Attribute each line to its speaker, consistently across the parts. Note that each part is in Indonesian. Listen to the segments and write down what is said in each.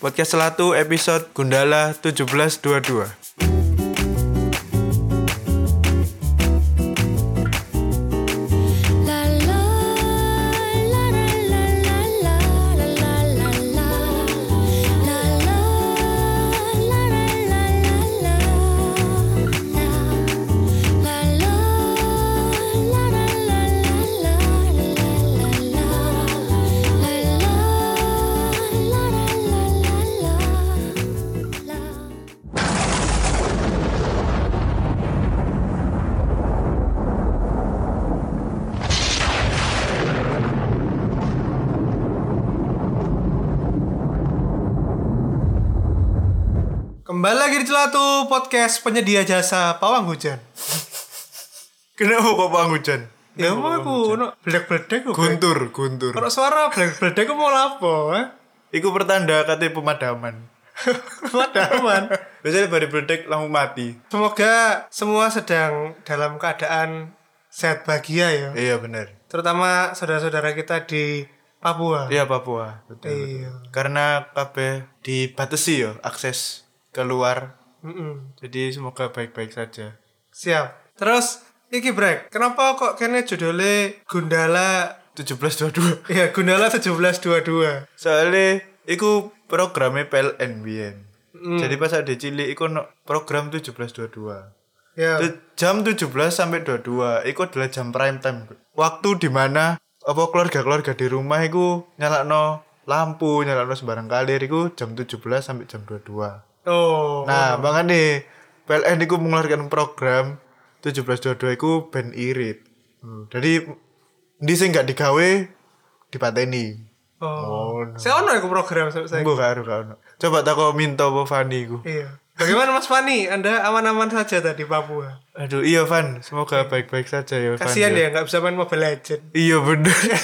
Speaker 1: Podcast Selatu episode Gundala 1722.
Speaker 2: La la la la la la la la la la la. La la la la la la la la. La la la la la la la la la la. La la la la la la la.
Speaker 3: Kembali lagi di Celatu Podcast penyedia jasa pawang hujan.
Speaker 1: Kenapa Bapak Hujan?
Speaker 3: Ya mau aku no bledek-bledek kok.
Speaker 1: Guntur, guntur.
Speaker 3: Kalau suara bledek-bledek aku mau lapo, eh?
Speaker 1: Iku pertanda katanya pemadaman.
Speaker 3: Pemadaman.
Speaker 1: Biasanya bari bledek langsung mati.
Speaker 3: Semoga semua sedang dalam keadaan sehat bahagia ya.
Speaker 1: Iya benar.
Speaker 3: Terutama saudara-saudara kita di Papua.
Speaker 1: Iya Papua. Betul.
Speaker 3: Iya.
Speaker 1: Karena kabeh dibatasi ya akses keluar.
Speaker 3: Mm-mm.
Speaker 1: Jadi semoga baik-baik saja.
Speaker 3: Siap. Terus iki break. Kenapa kok kene judulnya Gundala
Speaker 1: 1722.
Speaker 3: ya Gundala 1722.
Speaker 1: Soalnya iku programnya PLN biyen.
Speaker 3: Hmm.
Speaker 1: Jadi pas ada cilik iku ono program 1722.
Speaker 3: Ya.
Speaker 1: Tu- Jam 17 sampai 22 itu adalah jam prime time. Waktu di mana apa keluarga-keluarga di rumah iku nyalakno lampu, nyalakno sembarang kalir iku jam 17 sampai jam 22.
Speaker 3: Oh.
Speaker 1: Nah, makanya PLN iku mengeluarkan program 1722 iku ben irit. Hmm, Jadi di sing gak digawe dipateni.
Speaker 3: Oh.
Speaker 1: no.
Speaker 3: Saya ono iku program sampai saya.
Speaker 1: Mbok gak ero, gak ono. Coba tako minta apa Fani iku.
Speaker 3: Iya. Bagaimana Mas Fani? Anda aman-aman saja tadi Papua.
Speaker 1: Aduh, iya Van, semoga baik-baik saja ya Van.
Speaker 3: Kasihan ya nggak bisa main Mobile Legend.
Speaker 1: Iya bener.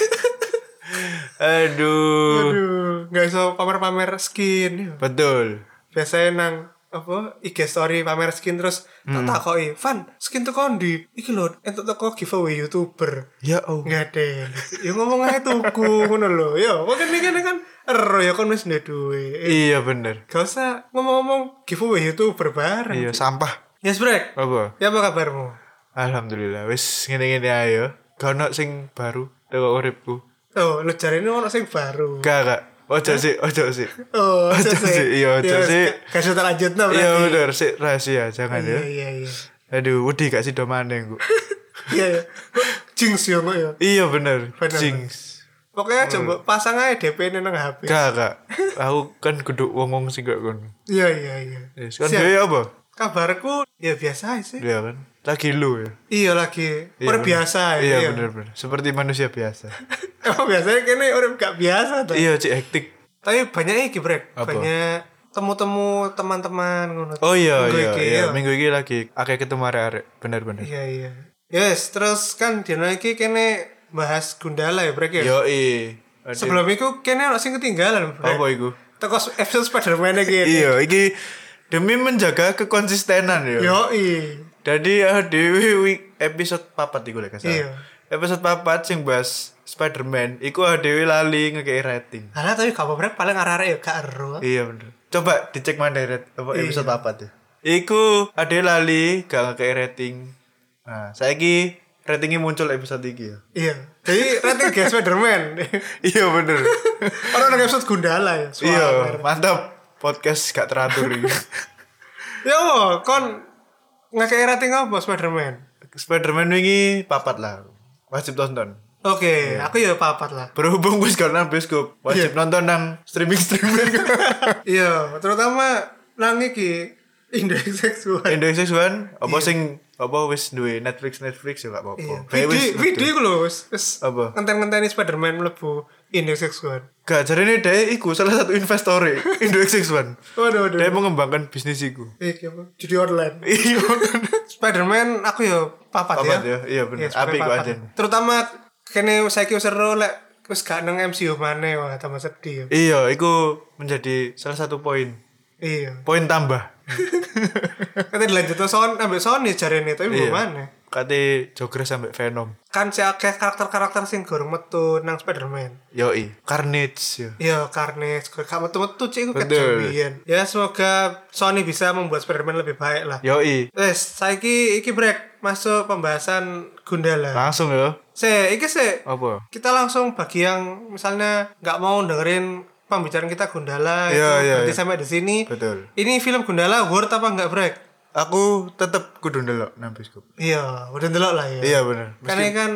Speaker 1: Aduh.
Speaker 3: Aduh, nggak bisa pamer-pamer skin.
Speaker 1: Betul.
Speaker 3: Biasanya nang apa IG story pamer skin terus
Speaker 1: Hmm.
Speaker 3: tak takoki, "Van, skin tuh kondi." Iki lho, entuk teko giveaway YouTuber.
Speaker 1: Ya Allah.
Speaker 3: Nggak deh. Ya ngomong aja tuku ngono lho. Ya, mungkin ini kan kan ero ya kon wis ndek duwe.
Speaker 1: Iya bener.
Speaker 3: Gak usah ngomong-ngomong giveaway YouTuber bareng.
Speaker 1: Iya Oh. sampah.
Speaker 3: Yes, Brek.
Speaker 1: Apa?
Speaker 3: Ya apa kabarmu?
Speaker 1: Alhamdulillah wis ngene-ngene ayo. Gak ono sing baru teko uripku.
Speaker 3: Oh, lu cari ini orang sing baru.
Speaker 1: Gak gak. Ojo sih, ojo sih.
Speaker 3: Oh, Ya,
Speaker 1: Ojo sih, iya, ojo sih.
Speaker 3: Kasih terlanjut no
Speaker 1: Iya
Speaker 3: berarti.
Speaker 1: bener sih rahasia jangan
Speaker 3: Iya,
Speaker 1: ya.
Speaker 3: iya, iya.
Speaker 1: Aduh, wedi gak sih do maneng, Bu.
Speaker 3: Iya, iya. Kok Jinx ya kok ya.
Speaker 1: Iya bener.
Speaker 3: Bener.
Speaker 1: Jinx.
Speaker 3: Pokoknya
Speaker 1: Hmm.
Speaker 3: coba pasang aja DP ini nang HP.
Speaker 1: Gak gak. Aku kan kudu wong-wong sing gak ngono.
Speaker 3: Iya, iya, iya.
Speaker 1: Yes, kan
Speaker 3: Siap.
Speaker 1: dhewe apa?
Speaker 3: Kabarku ya biasa aja sih.
Speaker 1: Dia kan lagi lu ya.
Speaker 3: Iya lagi,
Speaker 1: Iya,
Speaker 3: orang
Speaker 1: bener.
Speaker 3: biasa ya.
Speaker 1: Iya bener bener. Seperti manusia biasa.
Speaker 3: Emang biasanya kayaknya orang gak biasa tuh.
Speaker 1: iya, cek hektik.
Speaker 3: Tapi banyak iki brek,
Speaker 1: Apa?
Speaker 3: banyak temu-temu teman-teman ngono.
Speaker 1: Oh iya
Speaker 3: Minggu
Speaker 1: iya,
Speaker 3: iki,
Speaker 1: iya. minggu ini lagi akeh ketemu arek-arek bener-bener.
Speaker 3: Iya, iya. Yes, terus kan dino iki kene bahas Gundala ya brek ya.
Speaker 1: Yo i.
Speaker 3: Sebelum itu kene ono sing ketinggalan, Bro.
Speaker 1: iya. apa iku?
Speaker 3: Teko episode Spider-Man iki.
Speaker 1: Iya, iki demi menjaga kekonsistenan ya.
Speaker 3: Yo
Speaker 1: Jadi ah, dewe wi- episode papat iku lek gak salah.
Speaker 3: Iya.
Speaker 1: Episode papat sing bahas Spider-Man iku ah, dewe lali ngekei rating.
Speaker 3: Alah tapi gak apa-apa paling arek-arek ya gak ero.
Speaker 1: Iya bener. Coba dicek mana red apa
Speaker 3: Iya.
Speaker 1: episode papat ya. Iku ada lali gak ngekei rating. Nah, saiki ratingnya muncul episode iki ya.
Speaker 3: Iya. Jadi rating guys Spider-Man.
Speaker 1: Iya bener.
Speaker 3: Orang nang episode Gundala ya. suara
Speaker 1: Iya,
Speaker 3: merah.
Speaker 1: mantap. Podcast gak teratur ini.
Speaker 3: Ya wo, kon ngakei rating apa Spider-Man?
Speaker 1: Spiderman ini papat lah. Wajib tonton.
Speaker 3: Oke,
Speaker 1: Iya.
Speaker 3: aku ya papat lah.
Speaker 1: Berhubung wis gak nang bioskop, wajib nonton nang streaming-streaming.
Speaker 3: Iya, terutama nang iki indeks seksual.
Speaker 1: Indonesia One, apa sing apa wis duwe Netflix Netflix ya gak apa-apa.
Speaker 3: Iya.
Speaker 1: Kayak wis
Speaker 3: Video, video iku lho wis wis
Speaker 1: Apa?
Speaker 3: ngenten-ngenteni Spider-Man mlebu indeks seksual.
Speaker 1: gak jarine dhek iku salah satu investor e, Indonesia One.
Speaker 3: Waduh, waduh.
Speaker 1: Dia mengembangkan bisnis iku.
Speaker 3: Iki apa? Judi online.
Speaker 1: Iya.
Speaker 3: Spiderman aku ya papat,
Speaker 1: Papat
Speaker 3: ya.
Speaker 1: ya, iya bener.
Speaker 3: Spiderman
Speaker 1: Apik kok
Speaker 3: papat. ya.
Speaker 1: anjen.
Speaker 3: Terutama kene saiki wis seru lek wis gak nang MCU maneh wah tambah sedih. ya.
Speaker 1: Iya, iku menjadi salah satu poin.
Speaker 3: Iya.
Speaker 1: Poin tambah.
Speaker 3: Kata dilanjut Sony ambek Sony jarene tapi
Speaker 1: Iya.
Speaker 3: belum maneh.
Speaker 1: kate Jogres sampai Venom.
Speaker 3: kan si akeh karakter-karakter sing gorong metu nang Spiderman
Speaker 1: Yoi, Carnage ya.
Speaker 3: Iya, Carnage, gue gak metu-metu cik, gue
Speaker 1: Betul.
Speaker 3: kejabian Ya semoga Sony bisa membuat Spiderman lebih baik lah
Speaker 1: Yoi,
Speaker 3: Wes, saiki iki break masuk pembahasan Gundala.
Speaker 1: langsung ya.
Speaker 3: Se, iki se.
Speaker 1: Apa?
Speaker 3: Kita langsung bagi yang misalnya nggak mau dengerin pembicaraan kita
Speaker 1: Iya,
Speaker 3: Gundala itu
Speaker 1: iya,
Speaker 3: berarti
Speaker 1: iya.
Speaker 3: sampai di sini.
Speaker 1: Betul.
Speaker 3: Ini film Gundala worth apa nggak break?
Speaker 1: Aku tetep kudu ndelok nang bioskop.
Speaker 3: Iya, udah delok lah ya.
Speaker 1: Iya bener.
Speaker 3: Karena ini
Speaker 1: Meski-
Speaker 3: kan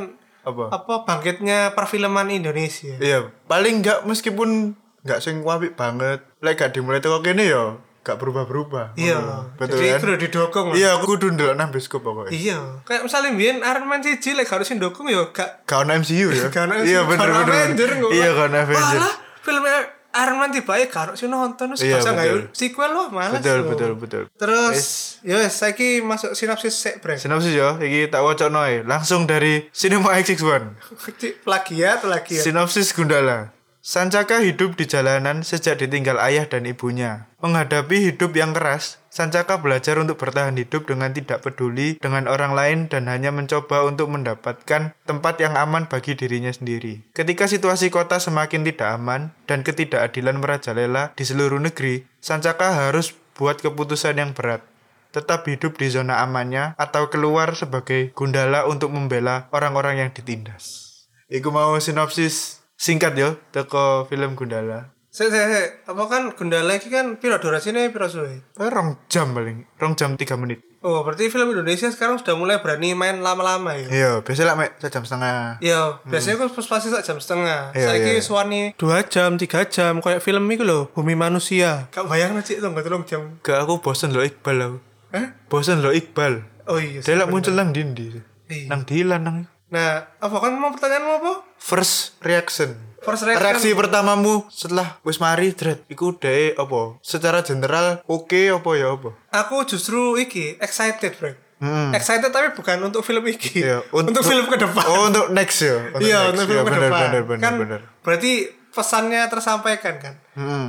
Speaker 1: apa?
Speaker 3: apa bangkitnya perfilman Indonesia.
Speaker 1: Iya, paling enggak meskipun enggak sing apik banget, lek gak dimulai teko kene ya gak berubah-berubah.
Speaker 3: Iya.
Speaker 1: Ngono. Betul
Speaker 3: Jadi
Speaker 1: kan?
Speaker 3: kudu didukung. lah.
Speaker 1: Iya, aku kudu ndelok nang bioskop pokoknya.
Speaker 3: Iya. Kayak misalnya Bian Iron Man sih cilik harusnya dukung ya gak
Speaker 1: Gak ono MCU ya?
Speaker 3: Karena
Speaker 1: iya bener bener.
Speaker 3: Avenger
Speaker 1: bener.
Speaker 3: gue.
Speaker 1: Iya, gak ono Avenger.
Speaker 3: Malah filmnya Iron Man tiba ya karo sih nonton terus
Speaker 1: Iya,
Speaker 3: iya, nggak
Speaker 1: betul.
Speaker 3: yuk sequel loh malas.
Speaker 1: Betul,
Speaker 3: loh.
Speaker 1: betul, betul.
Speaker 3: Terus yo saiki masuk sinopsis sek brek.
Speaker 1: Sinopsis ya, iki tak wacana ae. Langsung dari Cinema X61.
Speaker 3: Cik, Plagiat plagiat.
Speaker 1: Sinopsis Gundala. Sancaka hidup di jalanan sejak ditinggal ayah dan ibunya. Menghadapi hidup yang keras, Sancaka belajar untuk bertahan hidup dengan tidak peduli dengan orang lain dan hanya mencoba untuk mendapatkan tempat yang aman bagi dirinya sendiri. Ketika situasi kota semakin tidak aman dan ketidakadilan merajalela di seluruh negeri, Sancaka harus buat keputusan yang berat tetap hidup di zona amannya atau keluar sebagai gundala untuk membela orang-orang yang ditindas. Iku mau sinopsis singkat yo teko film Gundala.
Speaker 3: Sek sek sek. Apa kan Gundala iki kan piro durasine piro suwe?
Speaker 1: Eh, Rong jam paling, rong jam tiga menit.
Speaker 3: Oh, berarti film Indonesia sekarang sudah mulai berani main lama-lama ya.
Speaker 1: Iya, biasa lah mek sejam setengah.
Speaker 3: Iya, biasanya kan pas pasti sak jam setengah.
Speaker 1: Hmm. Iya,
Speaker 3: Saiki
Speaker 1: iya.
Speaker 3: suwani 2 jam, 3 jam kayak film iku lho, Bumi Manusia. Kak bayang cik tuh telung jam.
Speaker 1: Gak aku bosen lo Iqbal aku.
Speaker 3: Hah?
Speaker 1: Bosen lo Iqbal.
Speaker 3: Oh iya.
Speaker 1: Dia lah
Speaker 3: bener.
Speaker 1: muncul nang dindi.
Speaker 3: Iya.
Speaker 1: Nang dilan nang.
Speaker 3: Nah, apa kan mau pertanyaanmu apa?
Speaker 1: First reaction.
Speaker 3: First reaction.
Speaker 1: Reaksi pertamamu setelah wis mari dread iku deh apa? Secara general oke apa ya apa?
Speaker 3: Aku justru iki excited, bro.
Speaker 1: Hmm.
Speaker 3: Excited tapi bukan untuk film iki.
Speaker 1: Iya,
Speaker 3: untuk, film ke depan.
Speaker 1: Oh, untuk next ya.
Speaker 3: iya, untuk film ke
Speaker 1: benar,
Speaker 3: depan.
Speaker 1: Benar, benar,
Speaker 3: kan
Speaker 1: benar. Hmm.
Speaker 3: berarti pesannya tersampaikan kan.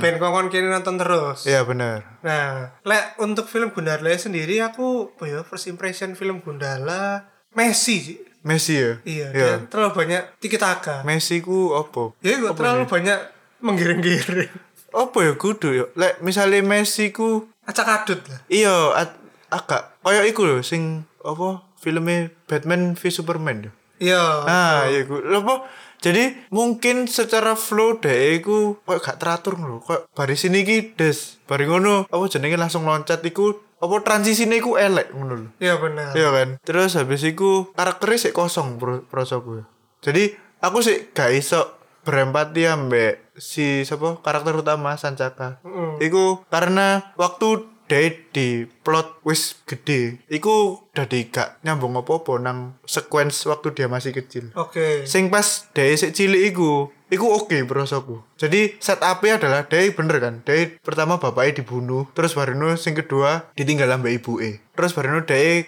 Speaker 3: Ben kongkon kini nonton terus.
Speaker 1: Iya, benar.
Speaker 3: Nah, lek untuk film Gundala sendiri aku apa ya first impression film Gundala Messi.
Speaker 1: Messi ya.
Speaker 3: Iya, dia terlalu banyak tiki taka.
Speaker 1: Messi ku apa?
Speaker 3: Ya, iya, terlalu banyak menggiring-giring.
Speaker 1: Apa ya kudu ya? Lek misalnya Messi ku
Speaker 3: Acak adut lah.
Speaker 1: iya at- agak koyo iku lho sing apa filmnya Batman v Superman. ya.
Speaker 3: Iya.
Speaker 1: Nah, iya ku. Lho apa? Jadi mungkin secara flow deh iku kok gak teratur lho. Kok baris ini ki des. Bari ngono apa jenenge langsung loncat iku apa transisine iku elek ngono lho.
Speaker 3: Iya benar.
Speaker 1: Iya kan. Terus habis itu karakternya sih kosong bro, prosoku. Jadi aku sih gak iso berempati ambek si siapa karakter utama Sancaka. Iku karena waktu dia di plot wis gede, iku dadi gak nyambung apa-apa nang sequence waktu dia masih kecil.
Speaker 3: Oke.
Speaker 1: Sing pas dia sik cilik iku, iku oke prosoku. Jadi setupnya adalah dia bener kan, dia pertama bapaknya dibunuh, terus barino sing kedua ditinggal ambek ibuke. Terus barino dia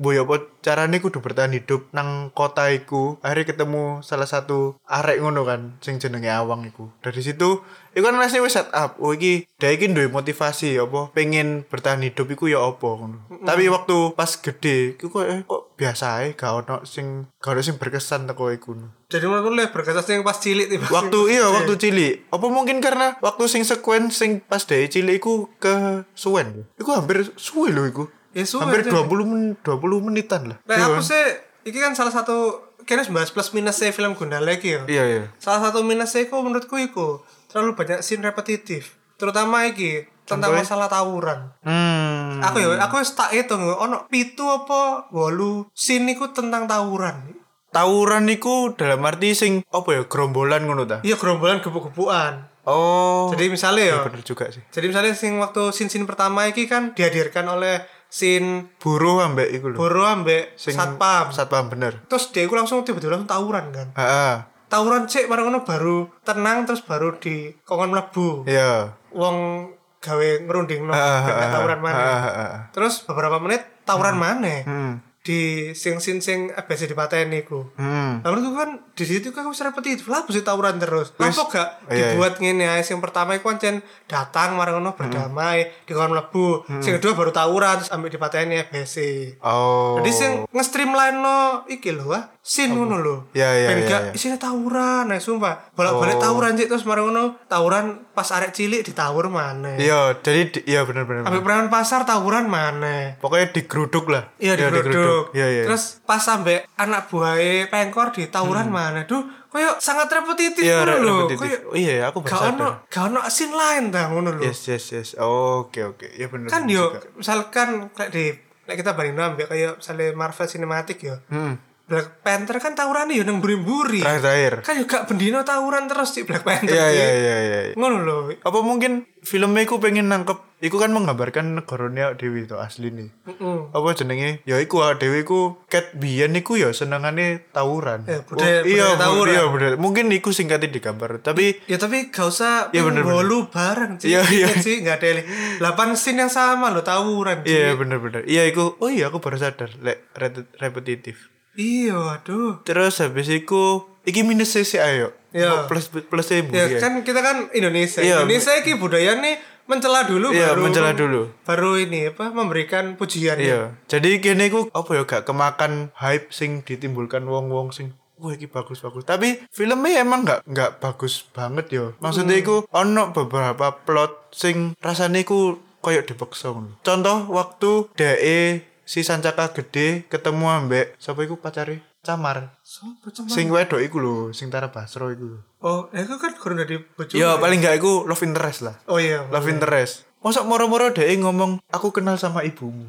Speaker 1: boyo apa carane kudu bertahan hidup nang kota iku. Akhirnya ketemu salah satu arek ngono kan sing jenenge Awang iku. Dari situ iku kan lesnya wis setup. Oh iki dia iki duwe motivasi ya apa pengen bertahan hidup iku ya apa ngono. Tapi waktu pas gede iku kok eh, kok biasa ae gak ono sing gak ono sing berkesan teko iku.
Speaker 3: Jadi menurutku lebih berkesan yang pas cilik tiba.
Speaker 1: waktu iya waktu cilik apa mungkin karena waktu sing sekuen sing pas dari cilik iku ke suwen iku hampir suwe lho iku
Speaker 3: Ya, suwe,
Speaker 1: hampir
Speaker 3: suwe.
Speaker 1: 20 men 20 menitan lah
Speaker 3: Nah,
Speaker 1: Iya kan?
Speaker 3: aku sih iki kan salah satu kayaknya bahas plus minus saya film Gundala iki ya.
Speaker 1: iya iya
Speaker 3: Salah satu minusnya iku menurutku iku terlalu banyak scene repetitif. Terutama iki tentang
Speaker 1: Contohnya?
Speaker 3: masalah tawuran.
Speaker 1: hmm
Speaker 3: Aku ya, aku wis tak hitung ya, ono pitu apa wolu scene iku tentang tawuran.
Speaker 1: tawuran iku dalam arti sing apa ya gerombolan ngono ta
Speaker 3: Iya gerombolan gebuk-gebukan.
Speaker 1: oh
Speaker 3: Jadi misalnya ya,
Speaker 1: iya bener juga sih
Speaker 3: jadi misalnya sing waktu scene-scene pertama iki kan dihadirkan oleh scene
Speaker 1: buruh ambek iku lho
Speaker 3: Boro ambek
Speaker 1: Sing-
Speaker 3: satpam.
Speaker 1: satpam bener
Speaker 3: Terus dia iku langsung tiba-tiba langsung tawuran kan.
Speaker 1: heeh
Speaker 3: tawuran cek bareng ngono baru tenang terus baru di kongkon mlebu.
Speaker 1: iya
Speaker 3: Wong gawe ngerunding no,
Speaker 1: Ah, ah,
Speaker 3: tawuran
Speaker 1: ah, ah,
Speaker 3: maneh.
Speaker 1: ah, ah.
Speaker 3: Terus beberapa menit tawuran maneh.
Speaker 1: Hmm.
Speaker 3: Di di sing sing sing abis dipateni ku.
Speaker 1: Hmm.
Speaker 3: Nah, menurutku kan di situ kan wis repetitif lah mesti tawuran terus.
Speaker 1: Wis.
Speaker 3: Apa gak
Speaker 1: Iya, Hmm.
Speaker 3: dibuat ngene ae sing pertama iku pancen datang marang ngono berdamai, dikon mlebu. Sing kedua baru tawuran terus ambek dipateni ABC.
Speaker 1: Oh.
Speaker 3: Jadi sing nge-streamline no iki lho ah, sin ngono lho.
Speaker 1: Ya, ya,
Speaker 3: Ben
Speaker 1: ya,
Speaker 3: gak
Speaker 1: ya.
Speaker 3: isine tawuran, nah, sumpah. Bolak-balik
Speaker 1: Oh.
Speaker 3: tawuran cik terus marang ngono, tawuran pas arek cilik ditawur maneh.
Speaker 1: Iya, jadi di- iya benar-benar.
Speaker 3: Ambil peran pasar tawuran mana?
Speaker 1: Pokoknya digeruduk lah.
Speaker 3: Iya di geruduk.
Speaker 1: Iya, iya.
Speaker 3: Terus pas sampai anak buahnya pengkor di tawuran mana? Duh, koyo sangat repetitif
Speaker 1: Hmm. iya,
Speaker 3: ngono
Speaker 1: re-
Speaker 3: lho.
Speaker 1: repetitif.
Speaker 3: Koyo
Speaker 1: Oh, iya, ya, aku baru
Speaker 3: gak ono
Speaker 1: sadar.
Speaker 3: gak ono scene lain dah ngono lho.
Speaker 1: Yes, yes, yes. Oh, Oke, oke. Iya benar.
Speaker 3: Kan yo misalkan kayak di kayak kita bandingin ambek kayak misalnya Marvel Cinematic yo.
Speaker 1: Hmm.
Speaker 3: Black Panther kan tawurannya yo nang buri-buri.
Speaker 1: Terakhir-terakhir.
Speaker 3: Kan yo gak bendino tawuran terus di Black Panther.
Speaker 1: Iya,
Speaker 3: Ci.
Speaker 1: iya, iya, iya.
Speaker 3: Ngono lho.
Speaker 1: Apa mungkin filmnya aku pengen nangkep Iku kan menggambarkan negaranya Dewi itu asli nih
Speaker 3: Heeh.
Speaker 1: apa jenenge ya iku ah, Dewi iku cat biyen iku ya senengane tawuran
Speaker 3: Ya, Eh,
Speaker 1: Oh, iya
Speaker 3: budaya- budaya
Speaker 1: bu-
Speaker 3: tawuran.
Speaker 1: iya budaya. mungkin iku singkatnya digambar tapi
Speaker 3: Ya tapi gak usah
Speaker 1: Iya, bener,
Speaker 3: bolu bareng sih.
Speaker 1: Iya, iya.
Speaker 3: sih gak ada. Delapan scene yang sama lo tawuran. Ci.
Speaker 1: iya bener-bener iya iku oh iya aku baru sadar lek re- repetitif
Speaker 3: Iya, aduh.
Speaker 1: terus habis iku iki minus sih ayo
Speaker 3: Iya.
Speaker 1: plus plusnya
Speaker 3: Ya,
Speaker 1: mburi, ya
Speaker 3: kan kita kan Indonesia.
Speaker 1: Iya.
Speaker 3: Indonesia iki budaya nih mencela dulu
Speaker 1: Iya,
Speaker 3: baru
Speaker 1: mencela dulu.
Speaker 3: Baru ini apa memberikan pujian.
Speaker 1: iya jadi kene iku apa ya gak kemakan hype sing ditimbulkan wong-wong sing Wah, iki bagus-bagus. Tapi filmnya emang nggak nggak bagus banget yo. Maksudnya iku ono beberapa plot sing rasanya iku koyok dipaksa. ngono. Contoh waktu DE si Sancaka gede ketemu ambek sapa iku pacare Camar.
Speaker 3: Sopo cuman?
Speaker 1: Sing wedok iku lho, sing Tara Basro iku.
Speaker 3: Oh, eh, itu kan kurang dari bojo.
Speaker 1: Yo paling nggak iku love interest lah.
Speaker 3: Oh iya.
Speaker 1: love interest masa moro-moro deh ngomong aku kenal sama ibumu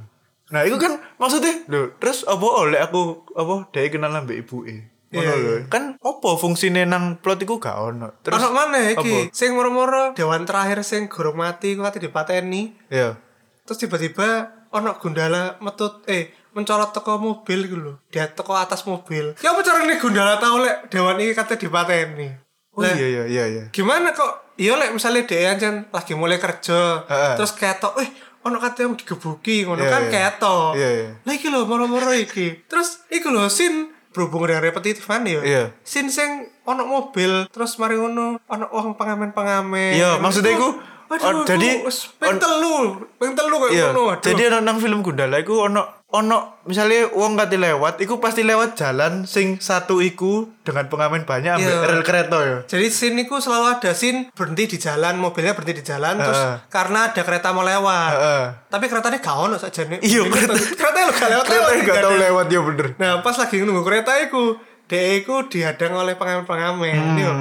Speaker 1: nah itu kan maksudnya lho, terus apa oleh aku apa deh kenal sama ibu e
Speaker 3: Iya, iya.
Speaker 1: kan apa fungsinya nang plot iku gak ono terus
Speaker 3: Terus mana
Speaker 1: apa?
Speaker 3: iki? Sing moro-moro dewan terakhir sing gorong mati kuwi ati dipateni.
Speaker 1: ya
Speaker 3: Terus tiba-tiba ono gundala metut eh mencolot teko mobil gitu loh. Dia teko atas mobil. Ya apa carane gundala tau lek dewan iki kate dipateni.
Speaker 1: oh
Speaker 3: Lah,
Speaker 1: iya iya iya iya
Speaker 3: gimana kok iya lek misalnya dia aja lagi mulai kerja
Speaker 1: Heeh.
Speaker 3: terus ketok eh ono kata yang digebuki ngono
Speaker 1: Iya,
Speaker 3: kan
Speaker 1: iya.
Speaker 3: ketok
Speaker 1: Iya, iya.
Speaker 3: lah iki lho moro-moro iki terus iki lho sin berhubung dengan repetitifan ya
Speaker 1: Iya.
Speaker 3: sin sing ono mobil terus mari ngono ono uang pengamen-pengamen
Speaker 1: Iya, maksudnya iku,
Speaker 3: Aduh,
Speaker 1: on- jadi-
Speaker 3: aku wis peng telu, peng telu kayak
Speaker 1: Iya,
Speaker 3: ngono. aduh.
Speaker 1: jadi ono nang film Gundala iku ono ono misalnya wong kate lewat iku pasti lewat jalan sing satu iku dengan pengamen banyak ambek
Speaker 3: Iya.
Speaker 1: rel kereta ya.
Speaker 3: Jadi scene itu selalu ada scene berhenti di jalan, mobilnya berhenti di jalan terus
Speaker 1: Heeh.
Speaker 3: karena ada kereta mau lewat.
Speaker 1: Heeh.
Speaker 3: Tapi keretanya gak ono saja nih.
Speaker 1: Iya,
Speaker 3: kereta
Speaker 1: kereta-
Speaker 3: kereta lo gak lewat.
Speaker 1: Kereta
Speaker 3: lewat,
Speaker 1: gak
Speaker 3: gak
Speaker 1: tau
Speaker 3: ada.
Speaker 1: lewat ya bener.
Speaker 3: Nah, pas lagi nunggu kereta iku, dhek iku dihadang oleh pengamen-pengamen. Yo.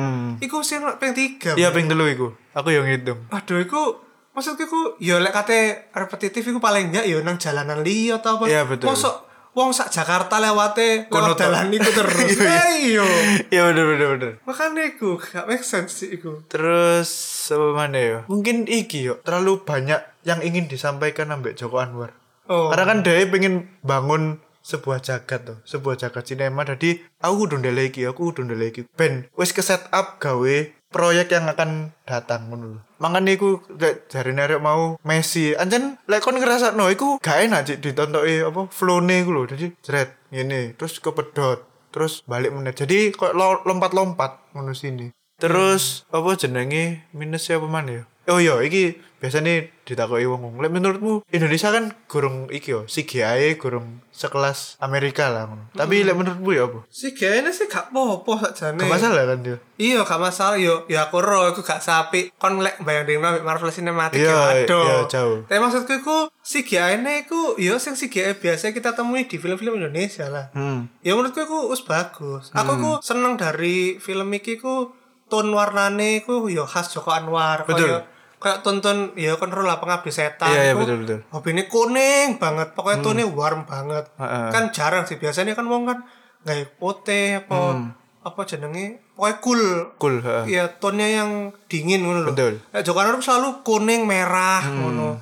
Speaker 3: Iku scene ping
Speaker 1: Hmm.
Speaker 3: 3.
Speaker 1: Iya ping telu iku. Aku yang ngitung.
Speaker 3: Aduh, iku maksudku iku ya lek kate repetitif iku paling enggak ya nang jalanan liya atau apa.
Speaker 1: Iya, betul.
Speaker 3: Mosok wong sak Jakarta lewate
Speaker 1: Kono
Speaker 3: lewat
Speaker 1: tok.
Speaker 3: dalan iku terus. Eh, Iya.
Speaker 1: Iya bener bener bener.
Speaker 3: Makanya iku gak make sense sih iku.
Speaker 1: Terus apa mana ya? Mungkin iki yo terlalu banyak yang ingin disampaikan ambek Joko Anwar.
Speaker 3: Oh.
Speaker 1: Karena kan dia pengen bangun sebuah jagat tuh, sebuah jagat sinema. Jadi aku udah ndeleh iki, aku udah ndeleh iki. Ben, wis ke set up gawe proyek yang akan datang ngono lho. Makane iku lek jari nerek mau Messi. Anjen lek kon ngerasa no iku gak enak Cik, ditontoki apa flow-ne iku lho. Jadi jret ngene, terus kepedot, terus balik meneh. Jadi kok lo- lompat-lompat ngono sini. Terus apa jenenge minus apa man ya? Oh iya, iki biasanya ditakoki wong wong. Lek menurutmu Indonesia kan gurung iki yo, CGI gurung sekelas Amerika lah ngono. Tapi lek menurutmu ya apa?
Speaker 3: Si kayaknya sih gak popo sakjane.
Speaker 1: Gak masalah kan dia?
Speaker 3: Iya, gak masalah yo. Ya aku ro, aku gak sapi. Kon lek bayangin nang Marvel Cinematic
Speaker 1: Iya,
Speaker 3: ya aduh.
Speaker 1: iya, jauh.
Speaker 3: Tapi maksudku iku CGI-ne iku E yo sing CGI biasa E kita temui di film-film Indonesia lah.
Speaker 1: Hmm.
Speaker 3: Ya menurutku iku wis bagus. Aku iku seneng dari film iki ku tone warnane iku yo khas Joko Anwar.
Speaker 1: Betul.
Speaker 3: Kayak- Kayak tonton ya kontrol lah pengabdi setan.
Speaker 1: Iya, iya,
Speaker 3: iku
Speaker 1: betul, betul. Hmm.
Speaker 3: Hobine kuning banget, pokoknya tone warm banget.
Speaker 1: Heeh.
Speaker 3: Kan jarang sih biasanya kan wong kan nggak putih apa apa jenenge pokoknya cool.
Speaker 1: Hmm. Cool, heeh.
Speaker 3: Ya tone yang dingin ngono lho.
Speaker 1: Betul. Hmm.
Speaker 3: Eh, Joko Anwar selalu kuning merah ngono.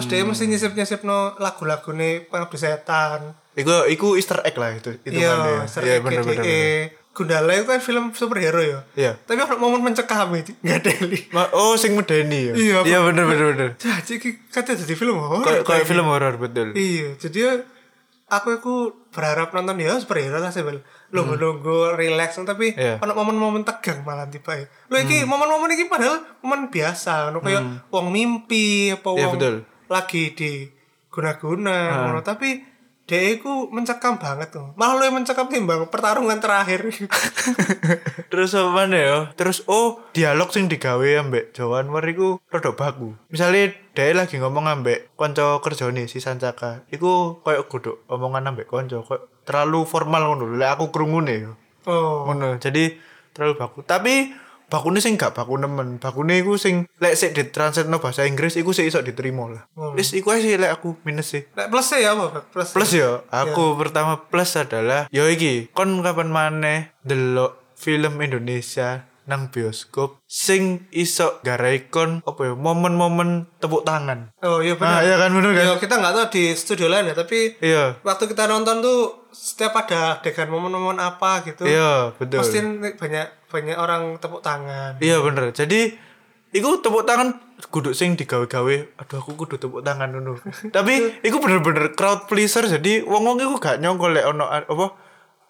Speaker 3: Terus dia mesti nyisip-nyisip no lagu-lagu pengabdi setan.
Speaker 1: Iku iku Easter egg lah itu itu
Speaker 3: Iya,
Speaker 1: kan dia. Iya,
Speaker 3: Easter
Speaker 1: bener bener. bener.
Speaker 3: bener. Gundala itu kan film superhero ya.
Speaker 1: Iya.
Speaker 3: Tapi aku momen mencekam itu nggak deli.
Speaker 1: Ma- oh, sing medeni ya.
Speaker 3: Iya, apa-
Speaker 1: iya bener bener bener.
Speaker 3: Jadi katanya jadi film horor.
Speaker 1: Kayak kayak film horor betul.
Speaker 3: Iya, jadi aku aku berharap nonton ya superhero lah sebel nunggu nunggu relax tapi
Speaker 1: Hmm. Iya. Hmm.
Speaker 3: ono momen-momen tegang malah tiba ya lo iki momen-momen iki padahal momen biasa ono kayak wong mimpi apa
Speaker 1: Iya,
Speaker 3: wong
Speaker 1: betul. Ah.
Speaker 3: lagi di guna-guna ngono. tapi dia iku mencekam banget tuh malah lo yang mencekam timbang pertarungan terakhir
Speaker 1: terus apa mana ya terus oh dialog sing digawe ambek Jawa Anwar iku rodok baku misalnya dia lagi ngomong ambek konco kerjone si Sancaka iku koyok godok omongan ambek konco koyo terlalu formal ngono lho. lek aku krungu ya
Speaker 3: oh
Speaker 1: ngono jadi terlalu baku tapi bakune sing gak baku nemen bakune iku sing lek sik ditranslate bahasa Inggris iku sik iso diterima lah wis iku ae sih lek aku minus sih
Speaker 3: Nah, plus ya apa Pak? plus
Speaker 1: plus yo aku pertama plus adalah yo iki kon kapan maneh delok film Indonesia nang bioskop sing iso garai kon apa ya momen-momen tepuk tangan
Speaker 3: oh iya
Speaker 1: nah
Speaker 3: benar
Speaker 1: iya kan bener kan
Speaker 3: Ya, kita nggak tahu di studio lain ya tapi
Speaker 1: iya
Speaker 3: waktu kita nonton tuh setiap ada adegan momen-momen apa gitu
Speaker 1: iya betul
Speaker 3: pasti nih banyak banyak orang tepuk tangan
Speaker 1: Iya bener. Jadi iku tepuk tangan kudu sing digawe-gawe. Aduh aku kudu tepuk tangan ngono. Tapi iku bener-bener crowd pleaser. Jadi wong-wong iku gak nyongkol lek ono a- apa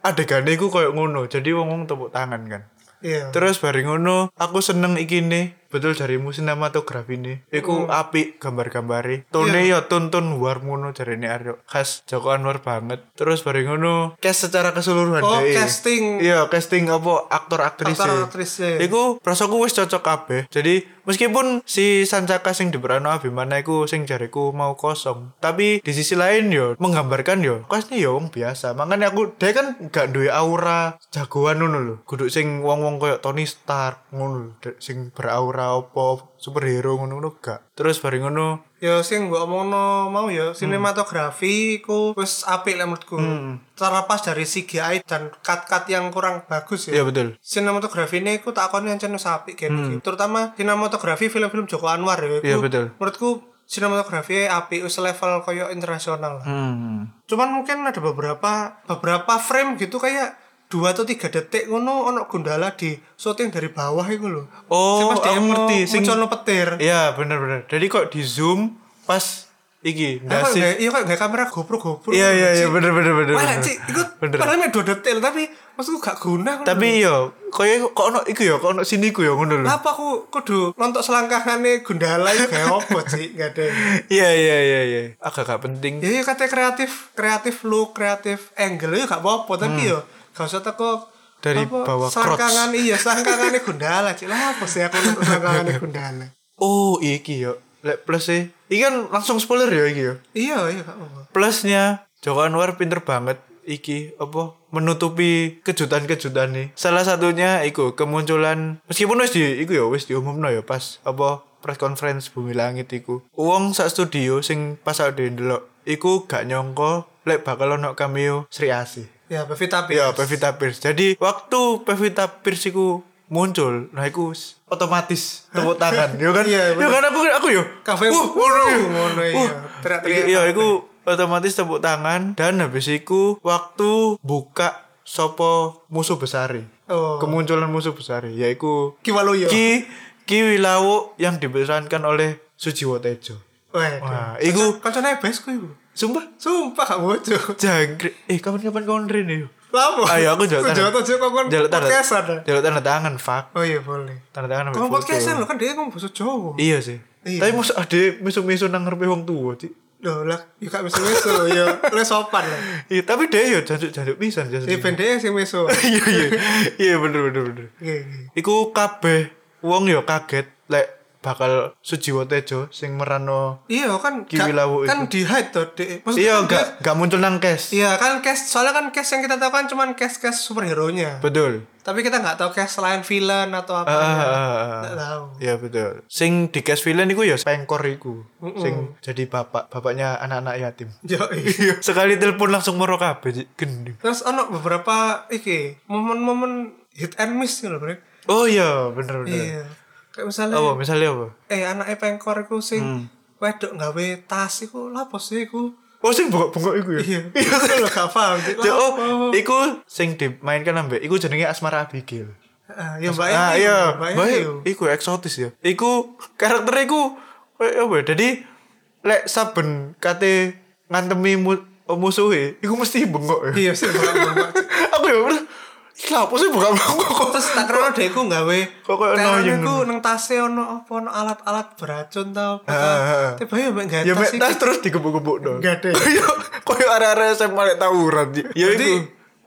Speaker 1: adegane iku koyo ngono. Jadi wong-wong tepuk tangan kan.
Speaker 3: iya
Speaker 1: Terus bareng ngono, aku seneng iki nih. Betul jarimu sinematografi nih.
Speaker 3: Oh.
Speaker 1: Iku apik gambar-gambare. Tone
Speaker 3: Iya.
Speaker 1: yo tuntun war ngono jarine Aryo. Khas Joko Anwar banget. Terus bareng ngono, cast secara keseluruhan
Speaker 3: Oh,
Speaker 1: deh.
Speaker 3: casting.
Speaker 1: Iya, casting apa aktor aktris.
Speaker 3: Aktor aktrisnya.
Speaker 1: Ya, kan
Speaker 3: ya sing gua omong mau ya
Speaker 1: Hmm.
Speaker 3: sinematografi ku wis apik lah menurutku
Speaker 1: Hmm.
Speaker 3: terlepas dari CGI dan cut-cut yang kurang bagus
Speaker 1: Iya
Speaker 3: ya
Speaker 1: betul.
Speaker 3: sinematografi ini aku tak yang channel apik kayak gitu. terutama sinematografi film-film Joko Anwar ya
Speaker 1: Hmm. Iya,
Speaker 3: Iku
Speaker 1: betul.
Speaker 3: menurutku sinematografi apik wis level koyo internasional lah
Speaker 1: Hmm.
Speaker 3: cuman mungkin ada beberapa beberapa frame gitu kayak dua atau tiga detik ngono ono gundala di syuting dari bawah itu loh
Speaker 1: Oh,
Speaker 3: Sing pas dia
Speaker 1: aku ngerti.
Speaker 3: mau
Speaker 1: Sing-
Speaker 3: mencolok petir
Speaker 1: Iya bener-bener. Jadi kok di zoom pas iki
Speaker 3: Aku
Speaker 1: ndasih.
Speaker 3: kayak- iya kok gak kamera GoPro GoPro
Speaker 1: Iya iya iya bener-bener bener.
Speaker 3: Wah,
Speaker 1: bener.
Speaker 3: Cik, itu
Speaker 1: Bener.
Speaker 3: padahal mek dua detik tapi maksudku gak guna ngono.
Speaker 1: tapi yo koyo kok ono iku yo kok ono sini iku yo ngono lho
Speaker 3: Kenapa aku kudu nonton selangkahane Gundala itu kayak apa sih? Gak ada.
Speaker 1: iya iya iya iya agak gak penting
Speaker 3: Ya ya katanya kreatif, kreatif look, kreatif angle ya gak apa-apa tapi yo gak usah teko
Speaker 1: Hmm. Dari bawah crotch.
Speaker 3: selangkangan iya selangkangane Gundala cik lah apa sih aku nonton selangkangane Gundala
Speaker 1: oh iki yo lek plus sih iki kan langsung spoiler yo iki yo
Speaker 3: iya iya gak apa-apa
Speaker 1: plusnya Joko Anwar pinter banget iki apa menutupi kejutan-kejutan nih salah satunya iku kemunculan meskipun wis di iku yo wis diumumno ya pas apa press conference bumi langit iku uang sak studio sing pas ada ndelok iku gak nyongko lek bakal ono cameo Sri Asih
Speaker 3: ya Pevita Pierce
Speaker 1: Ya Pevita Pierce. Jadi waktu Pevita Pierce iku muncul, nah iku s- otomatis tepuk tangan. Yo kan?
Speaker 3: Iya,
Speaker 1: yo kan aku aku yo.
Speaker 3: Kafe-
Speaker 1: Wuh, ngono yo.
Speaker 3: ngono, iya.
Speaker 1: Wuh.
Speaker 3: Teriak-teriak.
Speaker 1: Iya, iku otomatis tepuk tangan dan habis iku waktu buka sopo musuh besari.
Speaker 3: Oh.
Speaker 1: Kemunculan musuh besari yaiku
Speaker 3: Kiwaloyo
Speaker 1: Ki Ki Wilawo yang diperankan oleh Sujiwo Tejo.
Speaker 3: wah
Speaker 1: Nah, iku
Speaker 3: kancane besku iku
Speaker 1: sumpah
Speaker 3: sumpah gak bojo
Speaker 1: jangkrik. Eh, kapan-kapan kon rene yo. Ayo Oh,
Speaker 3: Lapo?
Speaker 1: Ah, iya, aku jaluk
Speaker 3: Jaluk tangan. Jaluk
Speaker 1: Jaluk tangan.
Speaker 3: tangan. kan Podcastan.
Speaker 1: Jaluk tanda tangan, fuck.
Speaker 3: Oh iya boleh.
Speaker 1: Tanda tangan ambil
Speaker 3: Kamu
Speaker 1: foto.
Speaker 3: podcastan lo kan dia ngomong bahasa Jawa.
Speaker 1: Iya sih.
Speaker 3: Iya.
Speaker 1: Tapi masa ada misu-misu nang ngarepe wong tua, Cik.
Speaker 3: Loh lah, ya kak meso meso, ya lo sopan lah.
Speaker 1: Iya, tapi dia ya jancuk-jancuk pisan jas. Iya,
Speaker 3: Ya pendek sih meso.
Speaker 1: iya. Iya, bener bener bener.
Speaker 3: Iya, iya.
Speaker 1: Iku kabeh wong ya kaget lek bakal Sujiwo Tejo sing merano
Speaker 3: Iya kan
Speaker 1: Kiwi
Speaker 3: gak-
Speaker 1: lawu
Speaker 3: kan di hide tuh dek.
Speaker 1: Iya, gak gak muncul nang cash.
Speaker 3: Iya kan cast soalnya kan cast yang kita tahu kan cuman cast cast superhero nya.
Speaker 1: Betul.
Speaker 3: Tapi kita nggak tahu cast selain villain atau apa.
Speaker 1: Ah,
Speaker 3: ya.
Speaker 1: ah, ah, ah.
Speaker 3: Nggak tahu.
Speaker 1: Iya betul. Sing di cash villain iku ya pengkor iku. Sing jadi bapak, bapaknya anak-anak yatim.
Speaker 3: Yo,
Speaker 1: Iya,
Speaker 3: iya.
Speaker 1: sekali telepon langsung moro kabeh, Cik. gendeng.
Speaker 3: Terus ono beberapa iki momen-momen hit and miss gitu loh, Bre.
Speaker 1: Oh iya, bener bener.
Speaker 3: Iya. Kayak misalnya
Speaker 1: Apa Hmm. misalnya apa?
Speaker 3: eh anaknya pengkor iku sing wedok gawe tas iku lapo sih iku
Speaker 1: Oh sing bengok-bengok iku ya.
Speaker 3: iya aku lho gak paham Cik.
Speaker 1: Cuk,
Speaker 3: Lapo?
Speaker 1: oh, iku sing dimainkan ambek iku jenenge Asmara Abigail.
Speaker 3: Ah, ya mbak
Speaker 1: Ah
Speaker 3: Eni,
Speaker 1: iya,
Speaker 3: Mbak Eni.
Speaker 1: baik. Iku eksotis ya. Iku karakter iku koyo apa? ya? Jadi lek saben kate ngantemi mu- oh, musuhe iku mesti bengok ya.
Speaker 3: iya sih bengok-bengok.
Speaker 1: aku ya bener iki lha apa sih bukan bengok
Speaker 3: terus tak kira deku gawe
Speaker 1: Kok kayak
Speaker 3: terane
Speaker 1: noyeng
Speaker 3: ku
Speaker 1: ngono?
Speaker 3: nang tase ono apa ono alat-alat beracun tau apa
Speaker 1: Ah, ah, ah.
Speaker 3: tiba ya mek gawe
Speaker 1: ya
Speaker 3: tas
Speaker 1: mek
Speaker 3: iki.
Speaker 1: tas terus digebuk-gebuk dong
Speaker 3: Nggak ada ya?
Speaker 1: Iya, koyo arek-arek SMA lek tawuran ya Ya
Speaker 3: Jadi,
Speaker 1: iku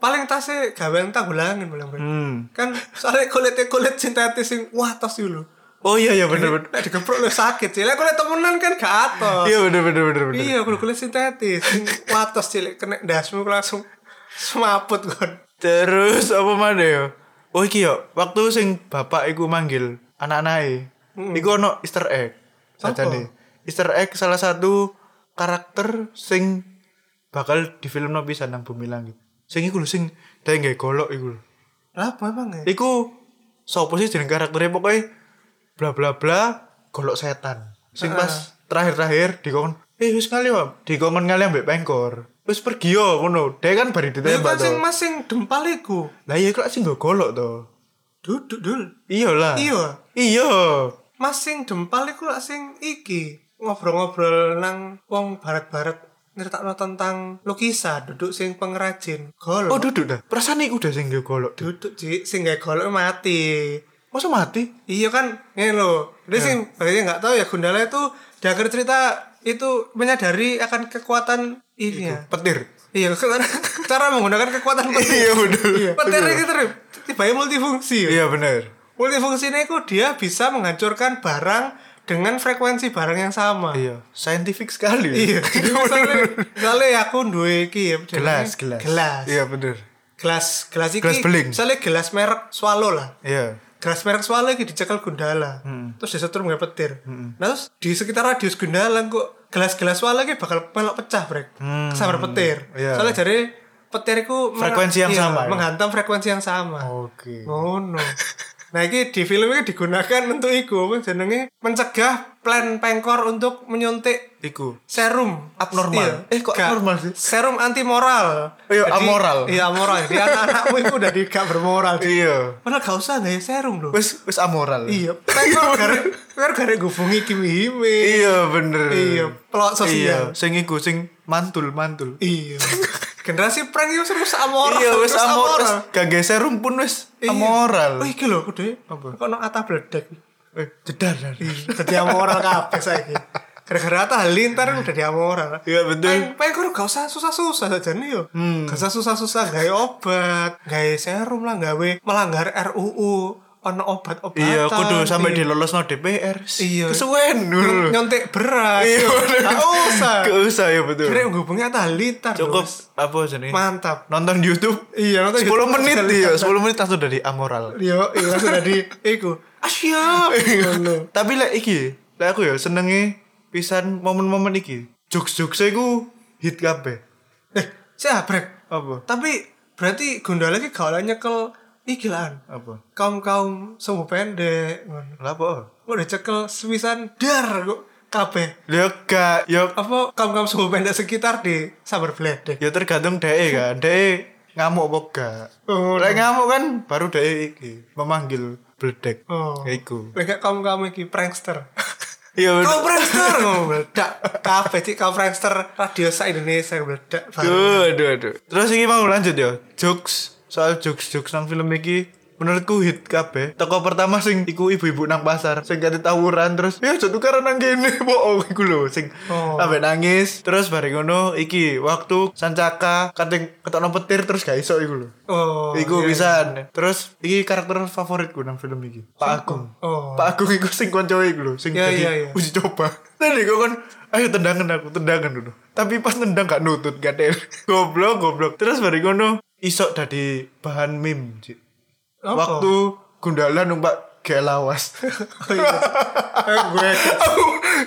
Speaker 3: paling tasnya gawean tanggulangan bilang
Speaker 1: Hmm.
Speaker 3: kan soalnya kulitnya kulit sintetis sing wah tas dulu
Speaker 1: oh iya ya bener bener
Speaker 3: Nek digeprok lu sakit cilik kulit temenan kan gak atos
Speaker 1: iya bener bener bener bener
Speaker 3: iya kulit kulit sintetis sing watos cilik kena dasmu langsung semaput kon
Speaker 1: Terus apa mana ya? Oh iki yo, waktu sing bapak iku manggil anak-anake. Iku ono Easter egg.
Speaker 3: Apa?
Speaker 1: Sajane. Easter egg salah satu karakter sing bakal difilmno pisan nang bumi langit. Sing iku lho sing dhewe nggae golok iku lho.
Speaker 3: lah apa emang ya
Speaker 1: Iku sapa sih jeneng karakternya pokoknya bla bla bla golok setan. Sing pas terakhir-terakhir dikon eh wis kali om dikon kali ambek pengkor. Wis pergi yo ngono. Dhewe kan bari
Speaker 3: itu kan
Speaker 1: ditembak
Speaker 3: sing
Speaker 1: to.
Speaker 3: mas sing dempal iku
Speaker 1: Lah iya kok sing nggo golok to.
Speaker 3: duduk dul
Speaker 1: Iya lah.
Speaker 3: Iya.
Speaker 1: Iya.
Speaker 3: Mas sing dempal iku lak sing iki ngobrol-ngobrol nang wong barat-barat nyeritakno tentang lukisan duduk sing pengrajin golok.
Speaker 1: Oh duduk dah. Perasaan iku udah sing nggo golok. Dud.
Speaker 3: duduk Ji. sing gak golok mati.
Speaker 1: Masa mati?
Speaker 3: Iya kan, ngene lho. Jadi
Speaker 1: Iya.
Speaker 3: sing bagiannya nggak tahu ya Gundala itu di akhir cerita itu menyadari akan kekuatan ini ya.
Speaker 1: Petir.
Speaker 3: Iya, karena cara menggunakan kekuatan petir.
Speaker 1: Iya, bener.
Speaker 3: Iya, Petir itu terus tiba multifungsi.
Speaker 1: Iya bener.
Speaker 3: Multifungsinya itu dia bisa menghancurkan barang dengan frekuensi barang yang sama.
Speaker 1: Iya. Scientific sekali.
Speaker 3: Ah. Iya. Jadi misalnya, misalnya aku duwe iki ya,
Speaker 1: gelas, gelas.
Speaker 3: jenenge Gelas.
Speaker 1: Iya bener.
Speaker 3: Gelas, gelas iki.
Speaker 1: Gelas beling.
Speaker 3: Misalnya gelas merek Swallow lah.
Speaker 1: Iya.
Speaker 3: Gelas merek Swallow iki dicekel Gundala.
Speaker 1: Hmm.
Speaker 3: Terus disetur dengan petir. Nah, terus di sekitar radius Gundala kok gelas-gelas Swallow iki bakal melok pecah, Brek. Kesambar petir.
Speaker 1: Hmm. Iya.
Speaker 3: Soalnya jadi petir iku mer-
Speaker 1: Frekuensi yang
Speaker 3: iya,
Speaker 1: sama, ya?
Speaker 3: Menghantam frekuensi yang sama.
Speaker 1: Oke.
Speaker 3: Ngono. Nah, ini di film ini digunakan untuk iku apa jenenge mencegah plan pengkor untuk menyuntik
Speaker 1: Iku.
Speaker 3: serum
Speaker 1: Abnormal.
Speaker 3: Iya.
Speaker 1: Eh, kok
Speaker 3: Gak.
Speaker 1: abnormal sih?
Speaker 3: Serum anti moral.
Speaker 1: Oh, iya, amoral.
Speaker 3: Iya, amoral. Jadi anak-anakmu itu udah di- gak bermoral.
Speaker 1: Iya.
Speaker 3: Padahal gak usah nggak ya serum loh.
Speaker 1: Wis wis amoral.
Speaker 3: Iya, pengkor gara pengkor gara gubungi kimi-hime.
Speaker 1: Iya bener.
Speaker 3: Iya, pelok
Speaker 1: Iya.
Speaker 3: sosial.
Speaker 1: Sing iku sing mantul mantul.
Speaker 3: Iya. Generasi prank itu terus amoral.
Speaker 1: Iya wis
Speaker 3: terus
Speaker 1: amoral. Wis Gak geser pun wis
Speaker 3: Iya.
Speaker 1: amoral.
Speaker 3: Oh, iki lho kudu.
Speaker 1: Apa?
Speaker 3: Kok no atap bledek.
Speaker 1: Eh, jedar. jedar.
Speaker 3: Jadi amoral kabeh saiki. Gara-gara tak halintar udah di amoral.
Speaker 1: Iya, betul. Hmm.
Speaker 3: Pengen kudu gak usah susah-susah saja nih yo. Gak usah susah-susah gawe obat, gawe serum lah, gawe melanggar RUU ono obat-obatan.
Speaker 1: Iya, kudu sampai
Speaker 3: Iya.
Speaker 1: dilolos no DPR.
Speaker 3: Iya.
Speaker 1: Kesuwen dulu.
Speaker 3: Nyon- nyontek beras.
Speaker 1: Iya, bener.
Speaker 3: Gak usah.
Speaker 1: Gak usah ya betul.
Speaker 3: Kira menghubungi tak halintar.
Speaker 1: Cukup
Speaker 3: Bos.
Speaker 1: apa jenenge?
Speaker 3: Mantap.
Speaker 1: Nonton di YouTube.
Speaker 3: Iya,
Speaker 1: 10
Speaker 3: nonton YouTube
Speaker 1: menit
Speaker 3: sekali.
Speaker 1: iya, 10 menit langsung dari amoral.
Speaker 3: Yo, iya langsung tadi iku. Iya, Asyap. Ngono.
Speaker 1: Tapi lek iki, lek aku ya senenge pisan momen-momen iki. Jokes-jokes iku hit kabeh.
Speaker 3: Eh, jabrek.
Speaker 1: Apa?
Speaker 3: Tapi berarti Gundala iki gak oleh nyekel iki lan.
Speaker 1: Apa?
Speaker 3: Kaum-kaum sumbu pendek ngono.
Speaker 1: Lah apa?
Speaker 3: Kok dicekel sewisan dar kok kabeh.
Speaker 1: Lek gak yo
Speaker 3: Apa kaum-kaum sumbu pendek sekitar di sabar bledek.
Speaker 1: yo tergantung dhek kan. Dhek ngamuk apa gak?
Speaker 3: Oh,
Speaker 1: Lek ngamuk kan baru dhek e iki memanggil bledek.
Speaker 3: Oh.
Speaker 1: Ya Iku.
Speaker 3: Lek gak kaum-kaum iki prankster.
Speaker 1: Iya bener.
Speaker 3: Kau prankster ngomong meledak Kabeh sih kau prankster radio sa Indonesia meledak
Speaker 1: Aduh, aduh, aduh. Terus ini mau lanjut ya. Jokes soal jokes jokes nang film iki menurutku hit kabeh. Toko pertama sing iku ibu-ibu nang pasar sing kate tawuran terus ya jatuh tukaran nang kene bohong iku lho sing
Speaker 3: Oh.
Speaker 1: sampe nangis. Terus bareng ngono iki waktu sancaka kating ketokno petir terus gak iso iku lho.
Speaker 3: Oh.
Speaker 1: iku
Speaker 3: iya.
Speaker 1: pisan. Terus iki karakter favoritku nang film iki. Pak Agung.
Speaker 3: Oh.
Speaker 1: Pak Agung iku sing konco iku lho, sing
Speaker 3: Iya,
Speaker 1: jadi
Speaker 3: iya, iya.
Speaker 1: uji coba. Tadi gue kan ayo tendangan aku, tendangan dulu. Tapi pas tendang gak nutut, gak ada. Goblok, goblok. Terus bari ngono isok dari bahan meme, Cik.
Speaker 3: Apa?
Speaker 1: Waktu Gundala numpak gak lawas.
Speaker 3: Oh, iya. Eh, gue
Speaker 1: aku,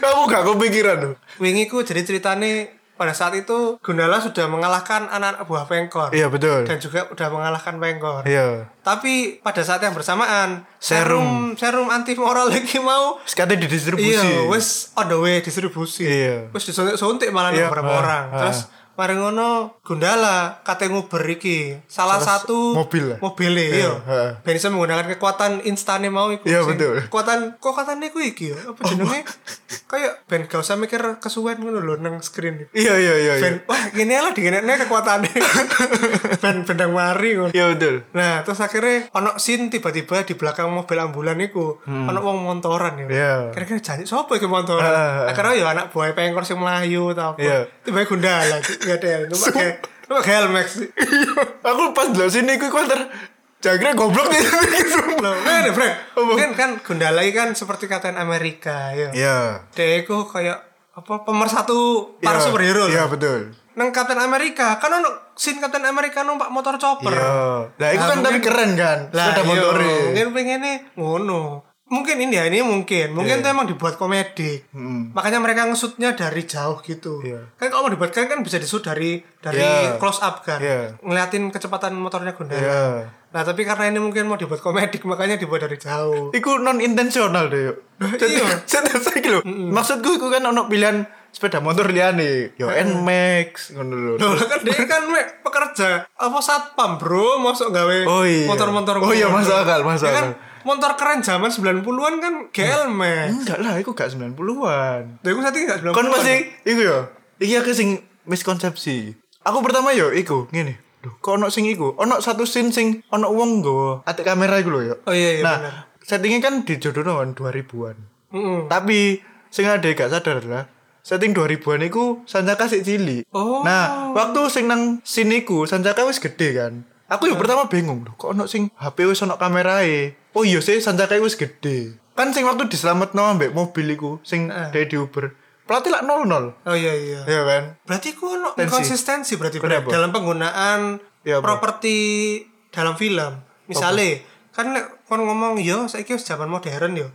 Speaker 1: aku gak kepikiran loh.
Speaker 3: Wingi ku jadi ceritanya pada saat itu Gundala sudah mengalahkan anak buah Pengkor.
Speaker 1: Iya, betul.
Speaker 3: Dan juga sudah mengalahkan Pengkor.
Speaker 1: Iya.
Speaker 3: Tapi pada saat yang bersamaan
Speaker 1: Serum.
Speaker 3: serum serum anti moral lagi mau
Speaker 1: Sekarang didistribusi.
Speaker 3: Iya, wes on the way distribusi.
Speaker 1: Iya.
Speaker 3: Wes disuntik-suntik malah
Speaker 1: Iya,
Speaker 3: nang beberapa
Speaker 1: ah,
Speaker 3: orang.
Speaker 1: ah.
Speaker 3: Terus mari ngono Gundala kate nguber iki salah satu
Speaker 1: mobil lah.
Speaker 3: mobile
Speaker 1: Iya,
Speaker 3: iya.
Speaker 1: ah.
Speaker 3: Ben iso menggunakan kekuatan instane mau iku.
Speaker 1: Iya,
Speaker 3: sing-
Speaker 1: betul. Oh,
Speaker 3: Kekuatan kekuatan iku iki yo. Apa ya. jenenge? kayak ben gak usah mikir kesuwen ngono lho nang screen.
Speaker 1: iya iya iya iya.
Speaker 3: Ben wah gini lah digenekne kekuatane. ben bendang mari ngono.
Speaker 1: iya betul
Speaker 3: Nah, terus akhirnya ono scene tiba-tiba di belakang mobil ambulan iku, ono wong montoran ya.
Speaker 1: Hmm. Iya.
Speaker 3: Kira-kira janji sapa iki montoran?
Speaker 1: Ah.
Speaker 3: Akhirnya ya anak buah pengkor sing Melayu ta apa.
Speaker 1: Iya.
Speaker 3: Tiba gundala ya del. Cuma kayak cuma kayak Helmex.
Speaker 1: Iya, aku pas dulu sini aku kuantar jangkrik goblok nih
Speaker 3: Loh, ngene, Frank.
Speaker 1: Apa?
Speaker 3: Kan kan gundala iki kan seperti Kapten Amerika ya.
Speaker 1: iya
Speaker 3: Dia iku kayak apa pemersatu
Speaker 1: Iya.
Speaker 3: para superhero.
Speaker 1: iya
Speaker 3: loh.
Speaker 1: betul
Speaker 3: Nang Kapten Amerika kan ono scene Kapten Amerika numpak motor chopper.
Speaker 1: iya nah itu
Speaker 3: Nah,
Speaker 1: kan tapi
Speaker 3: mungkin-
Speaker 1: keren kan
Speaker 3: lah
Speaker 1: sepeda
Speaker 3: iya,
Speaker 1: motornya
Speaker 3: mungkin pengennya ngono mungkin ini ya ini mungkin
Speaker 1: Iya.
Speaker 3: mungkin itu emang dibuat komedi makanya mereka ngesutnya dari jauh gitu
Speaker 1: Hmm. Iya.
Speaker 3: kan kalau mau dibuatkan kan bisa disut dari dari
Speaker 1: Iya.
Speaker 3: close up kan
Speaker 1: Iya.
Speaker 3: ngeliatin kecepatan motornya Gundala
Speaker 1: iya
Speaker 3: nah tapi karena ini mungkin mau dibuat komedik makanya dibuat dari jauh
Speaker 1: Iku non intensional deh yuk.
Speaker 3: iya.
Speaker 1: Saya saiki lho. Maksudku iku kan ono pilihan sepeda motor liyane. Yo Nmax ngono lho.
Speaker 3: Loh, kan dia kan Mek, pekerja apa satpam bro masuk gawe
Speaker 1: Oh, iya.
Speaker 3: motor-motor
Speaker 1: Oh, iya,
Speaker 3: ngono.
Speaker 1: masuk akal, masuk
Speaker 3: Ya kan
Speaker 1: akal.
Speaker 3: motor keren zaman 90-an kan GL Mek.
Speaker 1: Enggak lah, iku gak 90-an.
Speaker 3: Lha iku saat ini nggak 90-an.
Speaker 1: Kon masih iku yo. Iki aku sing miskonsepsi. Aku pertama yo iku ngene. Duh, kok ono sing iku? Ono satu scene sing ono wong nggawa atik kamera iku lho yo.
Speaker 3: Oh, iya, iya,
Speaker 1: Nah,
Speaker 3: bener.
Speaker 1: settingnya kan di jodoh 2000-an.
Speaker 3: Mm-mm.
Speaker 1: Tapi sing ada gak sadar adalah setting 2000-an iku Sanjaka sik cilik.
Speaker 3: Oh.
Speaker 1: Nah, waktu sing nang siniku Sanjaka wis gede kan. Aku yang pertama bingung loh, kok ono sing HP wis ono kamerae. Oh iya sih Sanjaka wis gede. Kan sing waktu diselametno ambek mobil iku sing
Speaker 3: Heeh.
Speaker 1: dari di Uber. Pelatih lak 00.
Speaker 3: Oh iya iya.
Speaker 1: Iya kan?
Speaker 3: Berarti ku ono
Speaker 1: Tensi.
Speaker 3: inkonsistensi berarti Bro.
Speaker 1: Kenapa?
Speaker 3: dalam penggunaan
Speaker 1: Ya, apa?
Speaker 3: properti dalam film. Misalnya kan nek kon ngomong yo saiki wis zaman modern yo.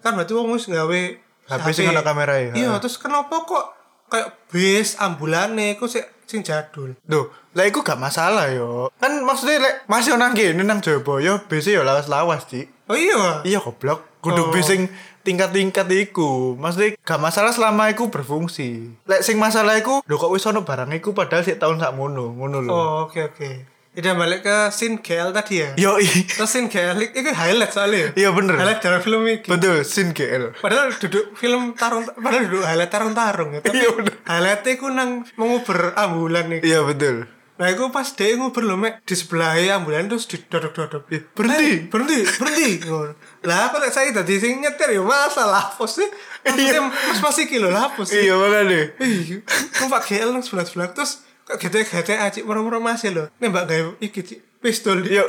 Speaker 3: Kan berarti wong wis gawe
Speaker 1: Hmm. HP sing ono kamerae, ha.
Speaker 3: Iya, terus kenapa kok kayak bis ambulane iku sik sing jadul.
Speaker 1: Duh, lah iku gak masalah yo. Kan maksudnya lek masih nang kene nang Jayabaya base yo lawas-lawas, Cik.
Speaker 3: Oh iya.
Speaker 1: Iya goblok, kudu
Speaker 3: Oh.
Speaker 1: bis sing tingkat-tingkat iku. Maksudnya gak masalah selama iku berfungsi. Lek sing masalah iku, lho kok wis ono barang iku padahal sik tahun sakmono, ngono lho.
Speaker 3: Oh, oke oke. Udah balik ke scene GL tadi ya.
Speaker 1: Yo
Speaker 3: Terus scene GL itu highlight soalnya. ya?
Speaker 1: Iya, bener.
Speaker 3: Highlight dalam film ini.
Speaker 1: Betul, sin GL.
Speaker 3: Padahal duduk film tarung padahal duduk highlight tarung tarung ya. Tapi
Speaker 1: Iya, bener.
Speaker 3: highlightnya ku nang menguber ambulan nih.
Speaker 1: Iya betul.
Speaker 3: Nah, aku pas dia nguber lho, Mek, di sebelahnya ambulan terus didodok-dodok.
Speaker 1: Ih, berhenti.
Speaker 3: Eh, berhenti, berhenti. Ngono. lah, aku lek saya tadi sing nyetir ya masa lapos sih. Iya, mas masih kilo lapos sih.
Speaker 1: Iya makanya.
Speaker 3: Iya, aku pakai GL nang sebelah-sebelah terus kok GTA acik merem-merem masih lho. Nembak gawe iki Cik. pistol di.
Speaker 1: Iya.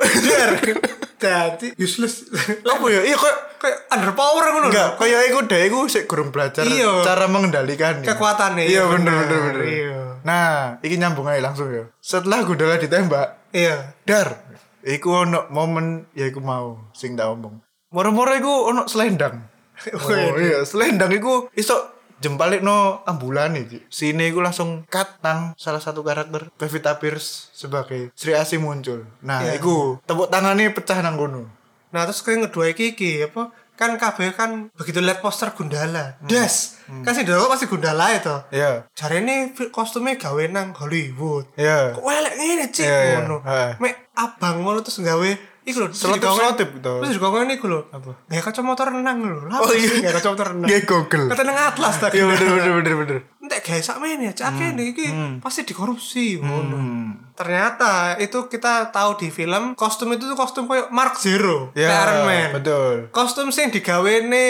Speaker 3: Jadi useless.
Speaker 1: Apa ya? Iya kok
Speaker 3: Kayak underpower ngono lho.
Speaker 1: enggak kaya iku deh iku sik gurung belajar
Speaker 3: Iya.
Speaker 1: cara mengendalikan
Speaker 3: Kekuatannya,
Speaker 1: Iya
Speaker 3: iya,
Speaker 1: bener
Speaker 3: bener,
Speaker 1: bener bener.
Speaker 3: iya.
Speaker 1: Nah, iki nyambung aja langsung ya. Setelah Gundala ditembak,
Speaker 3: Iya.
Speaker 1: Dar, iku ono momen ya iku mau sing tak omong. Moro-moro iku ono selendang. Oh iya, selendang iku iso jempalik no ambulan iki. Sini iku langsung cut nang salah satu karakter Pevita Pierce sebagai Sri Asih muncul. Nah,
Speaker 3: Iya.
Speaker 1: iku tepuk tangannya pecah nang kono.
Speaker 3: Nah terus kayak ngedua iki iki apa kan kabeh kan begitu lihat poster Gundala. Das. Kan sing delok pasti Gundala itu.
Speaker 1: Hmm. Iya.
Speaker 3: Jarene fi- kostumnya gawe nang Hollywood.
Speaker 1: Iya.
Speaker 3: Kok elek ngene cik
Speaker 1: Iya, iya.
Speaker 3: ngono.
Speaker 1: Heeh.
Speaker 3: Mek abang ngono terus gawe iku lho
Speaker 1: Selotip-selotip gitu.
Speaker 3: Terus dikongkon iku lho. Apa? Gak kacamata renang lho. Lah
Speaker 1: Oh, iya.
Speaker 3: gak kacamata renang.
Speaker 1: Nggak Google.
Speaker 3: Kata nang Atlas tadi.
Speaker 1: Iya bener bener Hmm. bener bener.
Speaker 3: Entek gawe sakmene cak kene iki pasti dikorupsi ngono.
Speaker 1: Hmm.
Speaker 3: Ternyata itu kita tahu di film kostum itu tuh kostum kayak Mark Zero,
Speaker 1: Iya,
Speaker 3: kayak Iron Man.
Speaker 1: Betul.
Speaker 3: kostum sing digawe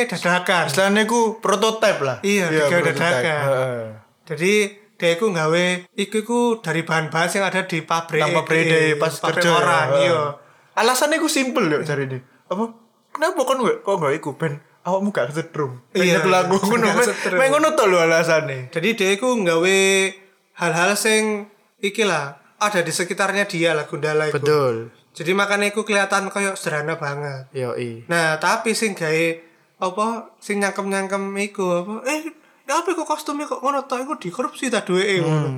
Speaker 3: dadakan
Speaker 1: Istilahnya iku prototipe lah.
Speaker 3: Iya, digawe
Speaker 1: prototipe.
Speaker 3: dadakan.
Speaker 1: Heeh.
Speaker 3: jadi dia iku nggawe iku iku dari bahan-bahan yang ada di pabrik
Speaker 1: tanpa pede pas
Speaker 3: pabrik
Speaker 1: kerja
Speaker 3: orang
Speaker 1: ya.
Speaker 3: iya
Speaker 1: alasannya gue simpel ya cari ini apa kenapa kan gue kok gak ikut ben awakmu gak kesetrum iya
Speaker 3: Iya,
Speaker 1: lagu
Speaker 3: gak
Speaker 1: ngono men
Speaker 3: kesetrum.
Speaker 1: men ngono to lho alasannya
Speaker 3: jadi dia iku nggawe hal-hal sing iki lah ada di sekitarnya dia lah Gundala iku
Speaker 1: betul
Speaker 3: jadi makanya iku kelihatan kayak sederhana banget
Speaker 1: yo i
Speaker 3: nah tapi sing gawe apa sing nyangkem-nyangkem iku apa eh ya apa kok kostumnya kok ngono tok iku dikorupsi ta
Speaker 1: Hmm.
Speaker 3: duweke ngono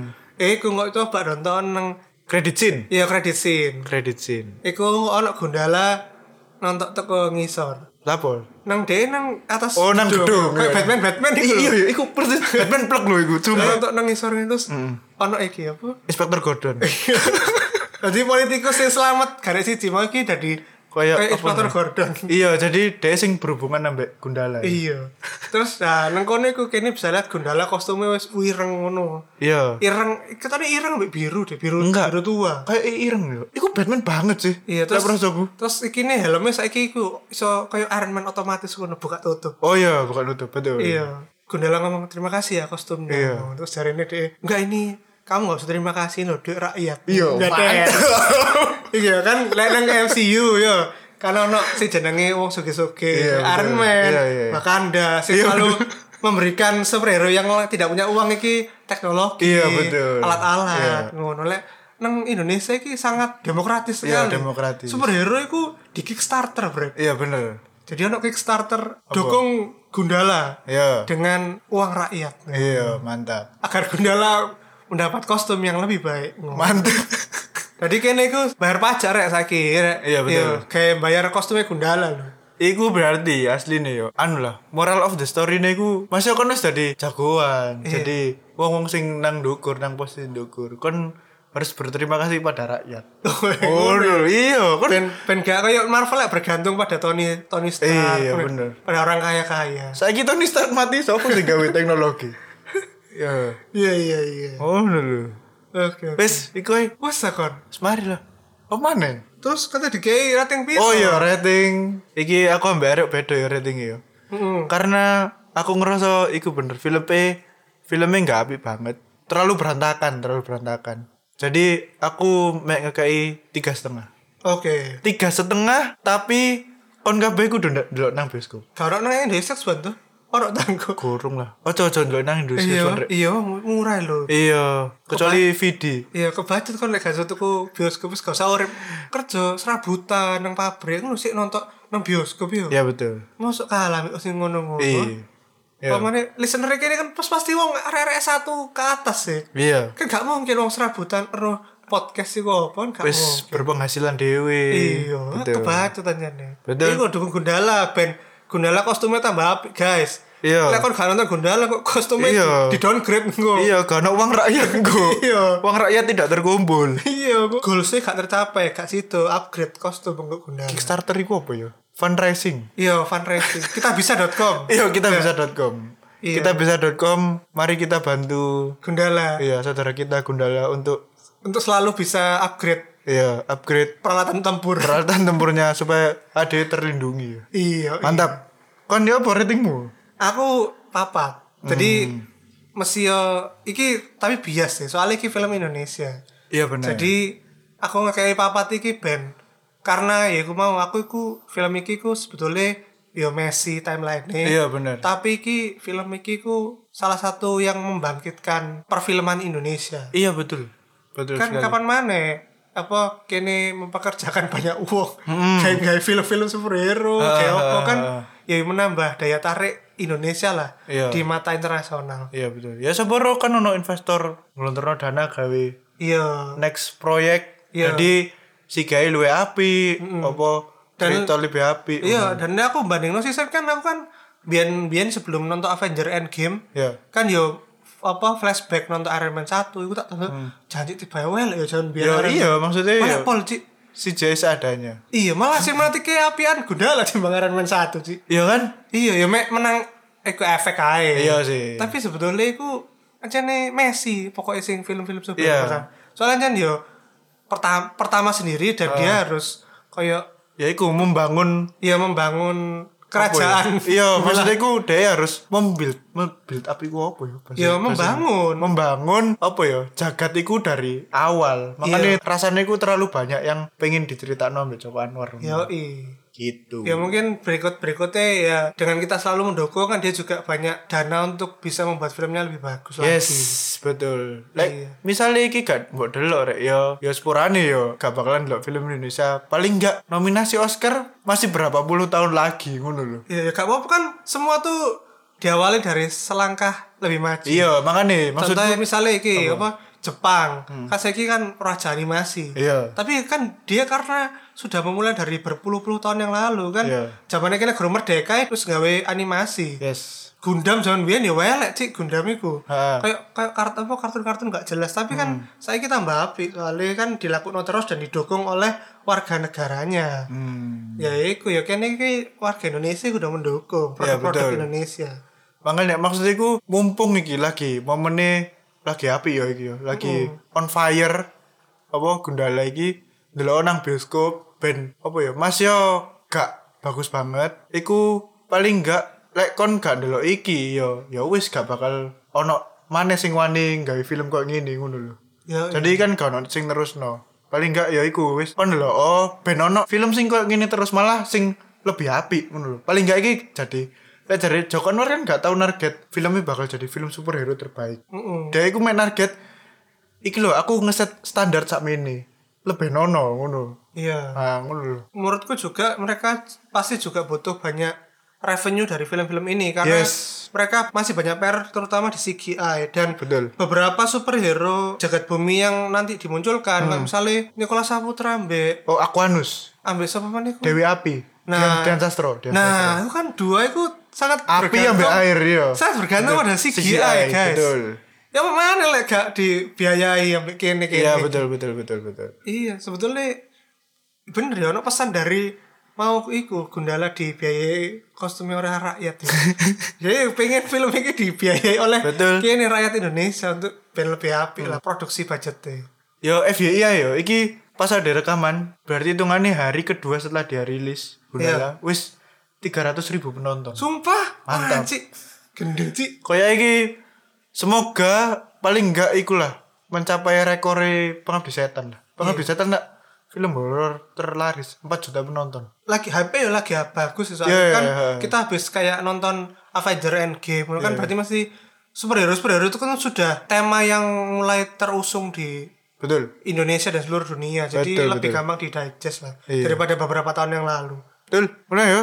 Speaker 3: eh iku kok coba nonton nang
Speaker 1: credit scene
Speaker 3: ya kredit scene
Speaker 1: credit scene
Speaker 3: Iku ono Gundala nonton teko ngisor.
Speaker 1: lapor
Speaker 3: Nang dhewe nang atas
Speaker 1: oh nang gedung
Speaker 3: Kayak
Speaker 1: iya.
Speaker 3: Batman Batman iku.
Speaker 1: iya
Speaker 3: lho.
Speaker 1: iya iku persis Batman plek lho iku
Speaker 3: Lah,
Speaker 1: cuma
Speaker 3: Nonton nang ngisor ini, terus
Speaker 1: Mm.
Speaker 3: ono iki apa?
Speaker 1: Inspektur Gordon
Speaker 3: Jadi politikus yang selamat gak ada siji mau iki dadi
Speaker 1: Kayak
Speaker 3: kayak
Speaker 1: apa
Speaker 3: Inspektur
Speaker 1: nih?
Speaker 3: Gordon.
Speaker 1: iya jadi dia sing berhubungan ambek Gundala
Speaker 3: Iya. Terus nah nang kono iku kene bisa lihat Gundala kostumnya wis ireng ngono.
Speaker 1: Iya.
Speaker 3: Ireng, ketane ireng ambek biru deh, biru
Speaker 1: Enggak.
Speaker 3: biru tua.
Speaker 1: Kayak ireng lho. Iku Batman banget sih.
Speaker 3: Iya,
Speaker 1: terus
Speaker 3: terus
Speaker 1: pernah aku.
Speaker 3: Terus iki nih helmnya saiki iku iso kayak Iron Man otomatis ngono buka tutup.
Speaker 1: Oh iya, bukan nutup betul.
Speaker 3: Iya. Gundala ngomong terima kasih ya kostumnya.
Speaker 1: Iya.
Speaker 3: Terus dari ini dia, enggak ini kamu gak usah terima kasih loh, duit rakyat.
Speaker 1: Iya,
Speaker 3: Nggak
Speaker 1: mantap.
Speaker 3: ada. Iya kan, lek nang MCU ya. Karena ono si jenenge wong suge-suge,
Speaker 1: Iya, betul.
Speaker 3: Iron Man,
Speaker 1: Iya, iya, iya.
Speaker 3: Wakanda, sing selalu memberikan superhero yang tidak punya uang iki teknologi,
Speaker 1: Iya, betul.
Speaker 3: alat-alat, ngono lek nang Indonesia iki sangat demokratis
Speaker 1: Iya,
Speaker 3: sekali.
Speaker 1: demokratis.
Speaker 3: Superhero iku di Kickstarter, Bro.
Speaker 1: Iya bener.
Speaker 3: Jadi ono Kickstarter dukung Gundala
Speaker 1: Iya.
Speaker 3: dengan uang rakyat
Speaker 1: Iya, mantap.
Speaker 3: agar Gundala mendapat kostum yang lebih baik.
Speaker 1: Mantap.
Speaker 3: Jadi kene iku bayar pajak rek saiki rek.
Speaker 1: Iya, betul.
Speaker 3: kayak bayar kostumnya Gundala lho.
Speaker 1: Iku berarti asli nih yo. Anu lah, moral of the story nih iku. Masih kan wis jadi jagoan.
Speaker 3: Iya.
Speaker 1: Jadi wong wong sing nang dukur, nang posisi dukur, kon harus berterima kasih pada rakyat. oh, lho, iya, kon
Speaker 3: Ben ben gak kayak Marvel lek bergantung pada Tony Tony Stark.
Speaker 1: Iya,
Speaker 3: pada-
Speaker 1: bener.
Speaker 3: Pada orang kaya-kaya.
Speaker 1: Saiki Tony Stark mati sapa sing gawe teknologi? Ya.
Speaker 3: Iya iya iya.
Speaker 1: Oh lho.
Speaker 3: Oke. oke.
Speaker 1: Wis iku ae.
Speaker 3: Wes kon.
Speaker 1: Semari lah. Apa maneh?
Speaker 3: Terus kata dikei rating piro?
Speaker 1: Oh iya rating. Iki aku ambek Arek beda ya rating ya.
Speaker 3: Mm-mm.
Speaker 1: Karena aku ngerasa iku bener filmnya filmnya nggak apik banget. Terlalu berantakan, terlalu berantakan. Jadi aku mek ngekei tiga setengah.
Speaker 3: Oke.
Speaker 1: Tiga setengah tapi kon kabeh kudu ndak- ndelok nang bioskop.
Speaker 3: Kalau nang Indonesia sebentar, orang tangguh.
Speaker 1: Kurung lah. Ojo ojo ndelok nang Indonesia
Speaker 3: Iya,
Speaker 1: Son, Rek.
Speaker 3: iya mu- murah lho.
Speaker 1: Iya, kecuali VD.
Speaker 3: Iya, kebacut kan lek gak tuku bioskop wis gak usah urip kerja serabutan nang pabrik ngono sik nonton nang bioskop yo.
Speaker 1: Iya betul.
Speaker 3: Mosok kalah mek sing ngono-ngono.
Speaker 1: Iya. Iya.
Speaker 3: Pamane listener kene kan pas pasti wong arek-arek satu ke atas sih.
Speaker 1: Iya.
Speaker 3: Kan gak mungkin wong serabutan ero podcast iku apa gak
Speaker 1: Wis
Speaker 3: mungkin.
Speaker 1: berpenghasilan dewe.
Speaker 3: Iya,
Speaker 1: Betul.
Speaker 3: kebacutan jane.
Speaker 1: Betul.
Speaker 3: Iku dukung Gundala ben Gundala kostumnya tambah apik, guys.
Speaker 1: Iya.
Speaker 3: Lek kon gak nonton Gundala kok kostumnya
Speaker 1: Iya.
Speaker 3: di downgrade engko.
Speaker 1: Iya, karena uang rakyat engko.
Speaker 3: Iya.
Speaker 1: Uang rakyat tidak terkumpul.
Speaker 3: iya kok goalsnya gak tercapai gak situ upgrade kostum untuk gundala
Speaker 1: Kickstarter itu apa ya? Fundraising.
Speaker 3: iya fundraising kita bisa.com
Speaker 1: Iya, kita bisa.com.
Speaker 3: Iya.
Speaker 1: Kita bisa.com, mari kita bantu
Speaker 3: gundala
Speaker 1: iya saudara kita Gundala untuk
Speaker 3: untuk selalu bisa upgrade
Speaker 1: iya upgrade
Speaker 3: peralatan tempur
Speaker 1: peralatan tempurnya supaya AD terlindungi.
Speaker 3: iya
Speaker 1: Mantap. Kon ya apa ratingmu?
Speaker 3: aku papat jadi
Speaker 1: Hmm.
Speaker 3: mesti yo iki tapi bias sih soalnya iki film Indonesia
Speaker 1: Iya benar. Jadi
Speaker 3: jadi aku ngekei papat iki ben karena ya aku mau aku iku film iki ku sebetulnya yo Messi timeline
Speaker 1: Iya, bener.
Speaker 3: tapi iki film iki ku salah satu yang membangkitkan perfilman Indonesia
Speaker 1: iya betul. Betul
Speaker 3: kan
Speaker 1: sekali.
Speaker 3: kapan mana apa kene mempekerjakan banyak uang kayak kayak film-film superhero
Speaker 1: Ah,
Speaker 3: kayak apa kan ya menambah daya tarik Indonesia lah
Speaker 1: Iya.
Speaker 3: di mata internasional
Speaker 1: Iya betul. Ya seboro kan ono investor ngelontorno dana gawe
Speaker 3: iya
Speaker 1: next proyek
Speaker 3: Iya.
Speaker 1: jadi si gawe luwe api apa
Speaker 3: Dan-
Speaker 1: cerita lebih api
Speaker 3: iya dan aku banding sih Sep, kan aku kan bian bian sebelum nonton Avenger Endgame
Speaker 1: ya
Speaker 3: kan yo apa flashback nonton Iron Man 1 itu tak tahu janji tiba wel ya jangan biar
Speaker 1: Ya,
Speaker 3: Iron
Speaker 1: Hmm. iya,
Speaker 3: Man.
Speaker 1: maksudnya
Speaker 3: Malah
Speaker 1: ya.
Speaker 3: pol Cik.
Speaker 1: si Jay seadanya
Speaker 3: iya malah sih mati kayak apian gundala timbang Iron Man 1 sih
Speaker 1: iya kan
Speaker 3: Iya, ya mek menang iku efek ae.
Speaker 1: Iya sih.
Speaker 3: Tapi sebetulnya iku ancene Messi pokoknya sing film-film
Speaker 1: Iya.
Speaker 3: superhero. kan. Soalnya kan yo pertama, pertama
Speaker 1: Ah.
Speaker 3: sendiri dan dia harus koyo
Speaker 1: ya iku membangun
Speaker 3: ya
Speaker 1: apa
Speaker 3: membangun
Speaker 1: ya?
Speaker 3: kerajaan.
Speaker 1: iya maksudnya iku dia harus membuild membuild api iku apa ya bahasa-
Speaker 3: Ya,
Speaker 1: bahasa-
Speaker 3: membangun.
Speaker 1: membangun apa ya jagat iku dari awal makanya
Speaker 3: Iya.
Speaker 1: rasanya iku terlalu banyak yang pengen diceritain sama Joko Anwar
Speaker 3: Yo i.
Speaker 1: gitu
Speaker 3: Ya mungkin berikut-berikutnya ya dengan kita selalu mendukung kan dia juga banyak dana untuk bisa membuat filmnya lebih bagus
Speaker 1: Yes,
Speaker 3: lagi.
Speaker 1: betul. Like
Speaker 3: Iya.
Speaker 1: misalnya iki gak mbok delok rek ya, yo yo sepurane yo ya, gak bakalan delok film Indonesia. Paling gak nominasi Oscar masih berapa puluh tahun lagi ngono lho.
Speaker 3: Ya, ya gak apa-apa kan semua tuh diawali dari selangkah lebih maju.
Speaker 1: Iya, makanya maksudnya
Speaker 3: contohnya misalnya iki apa, Jepang kan saiki kan raja animasi
Speaker 1: Hmm. Iya.
Speaker 3: tapi kan dia karena sudah memulai dari berpuluh-puluh tahun yang lalu kan
Speaker 1: Iya.
Speaker 3: zamannya kena guru merdeka ya, terus gawe animasi
Speaker 1: yes.
Speaker 3: Gundam zaman biyen ya welek sih Gundam iku.
Speaker 1: Ha. Hmm.
Speaker 3: Kayak kayak kartun apa kartun-kartun gak jelas tapi kan saiki tambah apik soalnya kan dilakukan terus dan didukung oleh warga negaranya.
Speaker 1: Hmm.
Speaker 3: Ya iku ya kene iki warga Indonesia iku udah mendukung
Speaker 1: Iya,
Speaker 3: produk-produk
Speaker 1: betul.
Speaker 3: Indonesia.
Speaker 1: Makanya maksudnya ku mumpung iki lagi momennya lagi api ya iki ya, lagi on fire apa gundala iki ndelok nang bioskop ben apa ya Mas yo gak bagus banget. Iku paling gak lek kon gak ndelok iki yo ya wis gak bakal ono maneh sing wani gawe film kok ngene ngono lho.
Speaker 3: Ya,
Speaker 1: Jadi kan gak ono sing terus no. Paling gak ya iku wis kon lho oh ben ono film sing koyo ngene terus malah sing lebih apik ngono lho. Paling gak iki jadi lek jare Joko Anwar kan gak tau target filmnya bakal jadi film superhero terbaik.
Speaker 3: Mm-mm.
Speaker 1: Dia iku main target iki lho aku ngeset standar sak Lebih nono ngono.
Speaker 3: Iya.
Speaker 1: Nah, ngono lho.
Speaker 3: menurutku juga mereka pasti juga butuh banyak revenue dari film-film ini karena
Speaker 1: Yes.
Speaker 3: mereka masih banyak PR terutama di CGI dan
Speaker 1: Betul.
Speaker 3: beberapa superhero jagat bumi yang nanti dimunculkan
Speaker 1: Hmm.
Speaker 3: Kayak misalnya Nicolas Saputra ambek
Speaker 1: Oh, Aquanus,
Speaker 3: ambek siapa maneh iku?
Speaker 1: Dewi Api.
Speaker 3: Nah.
Speaker 1: Dian, Dian Sastro, Dian Sastro.
Speaker 3: Nah, itu kan dua itu sangat
Speaker 1: Api ambek air ya.
Speaker 3: Sangat bergantung pada CGI, guys.
Speaker 1: Betul.
Speaker 3: Ya mana lek gak dibiayai ambek kene kene.
Speaker 1: Iya, betul betul betul betul.
Speaker 3: Iya, sebetulnya bener ya ono pesan dari mau iku Gundala dibiayai kostumnya oleh rakyat ya. Jadi pengen film ini dibiayai oleh
Speaker 1: Betul. Hmm.
Speaker 3: kene rakyat Indonesia untuk ben lebih apik lah produksi budgetnya.
Speaker 1: Yo FYI ya, yo, iki pas ada rekaman, berarti hitungannya hari kedua setelah dia rilis,
Speaker 3: Iya.
Speaker 1: Gundala, wis 300 ribu penonton.
Speaker 3: Sumpah,
Speaker 1: Mantap.
Speaker 3: Cik. Gendeng, Cik.
Speaker 1: Kayak iki, semoga paling enggak ikulah mencapai rekor pengabdi setan lah. Pengabdi
Speaker 3: Iya.
Speaker 1: setan lah, film horor terlaris 4 juta penonton.
Speaker 3: lagi HP ya lagi bagus ya soalnya
Speaker 1: Iya, iya,
Speaker 3: kan
Speaker 1: iya.
Speaker 3: kita habis kayak nonton Avenger Endgame kan berarti masih superhero superhero itu kan sudah tema yang mulai terusung di
Speaker 1: Betul.
Speaker 3: Indonesia dan seluruh dunia jadi
Speaker 1: Betul,
Speaker 3: lebih
Speaker 1: betul.
Speaker 3: gampang di digest lah
Speaker 1: Iya.
Speaker 3: daripada beberapa tahun yang lalu
Speaker 1: Betul. Mulai ya.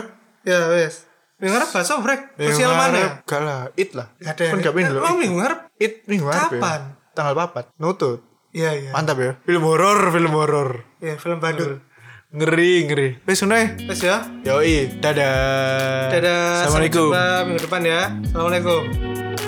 Speaker 3: ya wes minggu harap bahasa break
Speaker 1: Yang
Speaker 3: sosial
Speaker 1: ngarep
Speaker 3: mana
Speaker 1: Gak lah, it lah.
Speaker 3: Gak ya? ada
Speaker 1: Kan gak pengen
Speaker 3: Emang
Speaker 1: lho.
Speaker 3: minggu harap
Speaker 1: It minggu harap ya.
Speaker 3: Kapan?
Speaker 1: Tanggal papat. Nutut.
Speaker 3: iya iya
Speaker 1: Mantap ya. Film horor, film horor.
Speaker 3: ya film Bandung
Speaker 1: Ngeri, ngeri. Wis unai.
Speaker 3: wes ya
Speaker 1: Yoi, dadah.
Speaker 3: dadah sampai
Speaker 1: Assalamualaikum.
Speaker 3: jumpa minggu depan ya assalamualaikum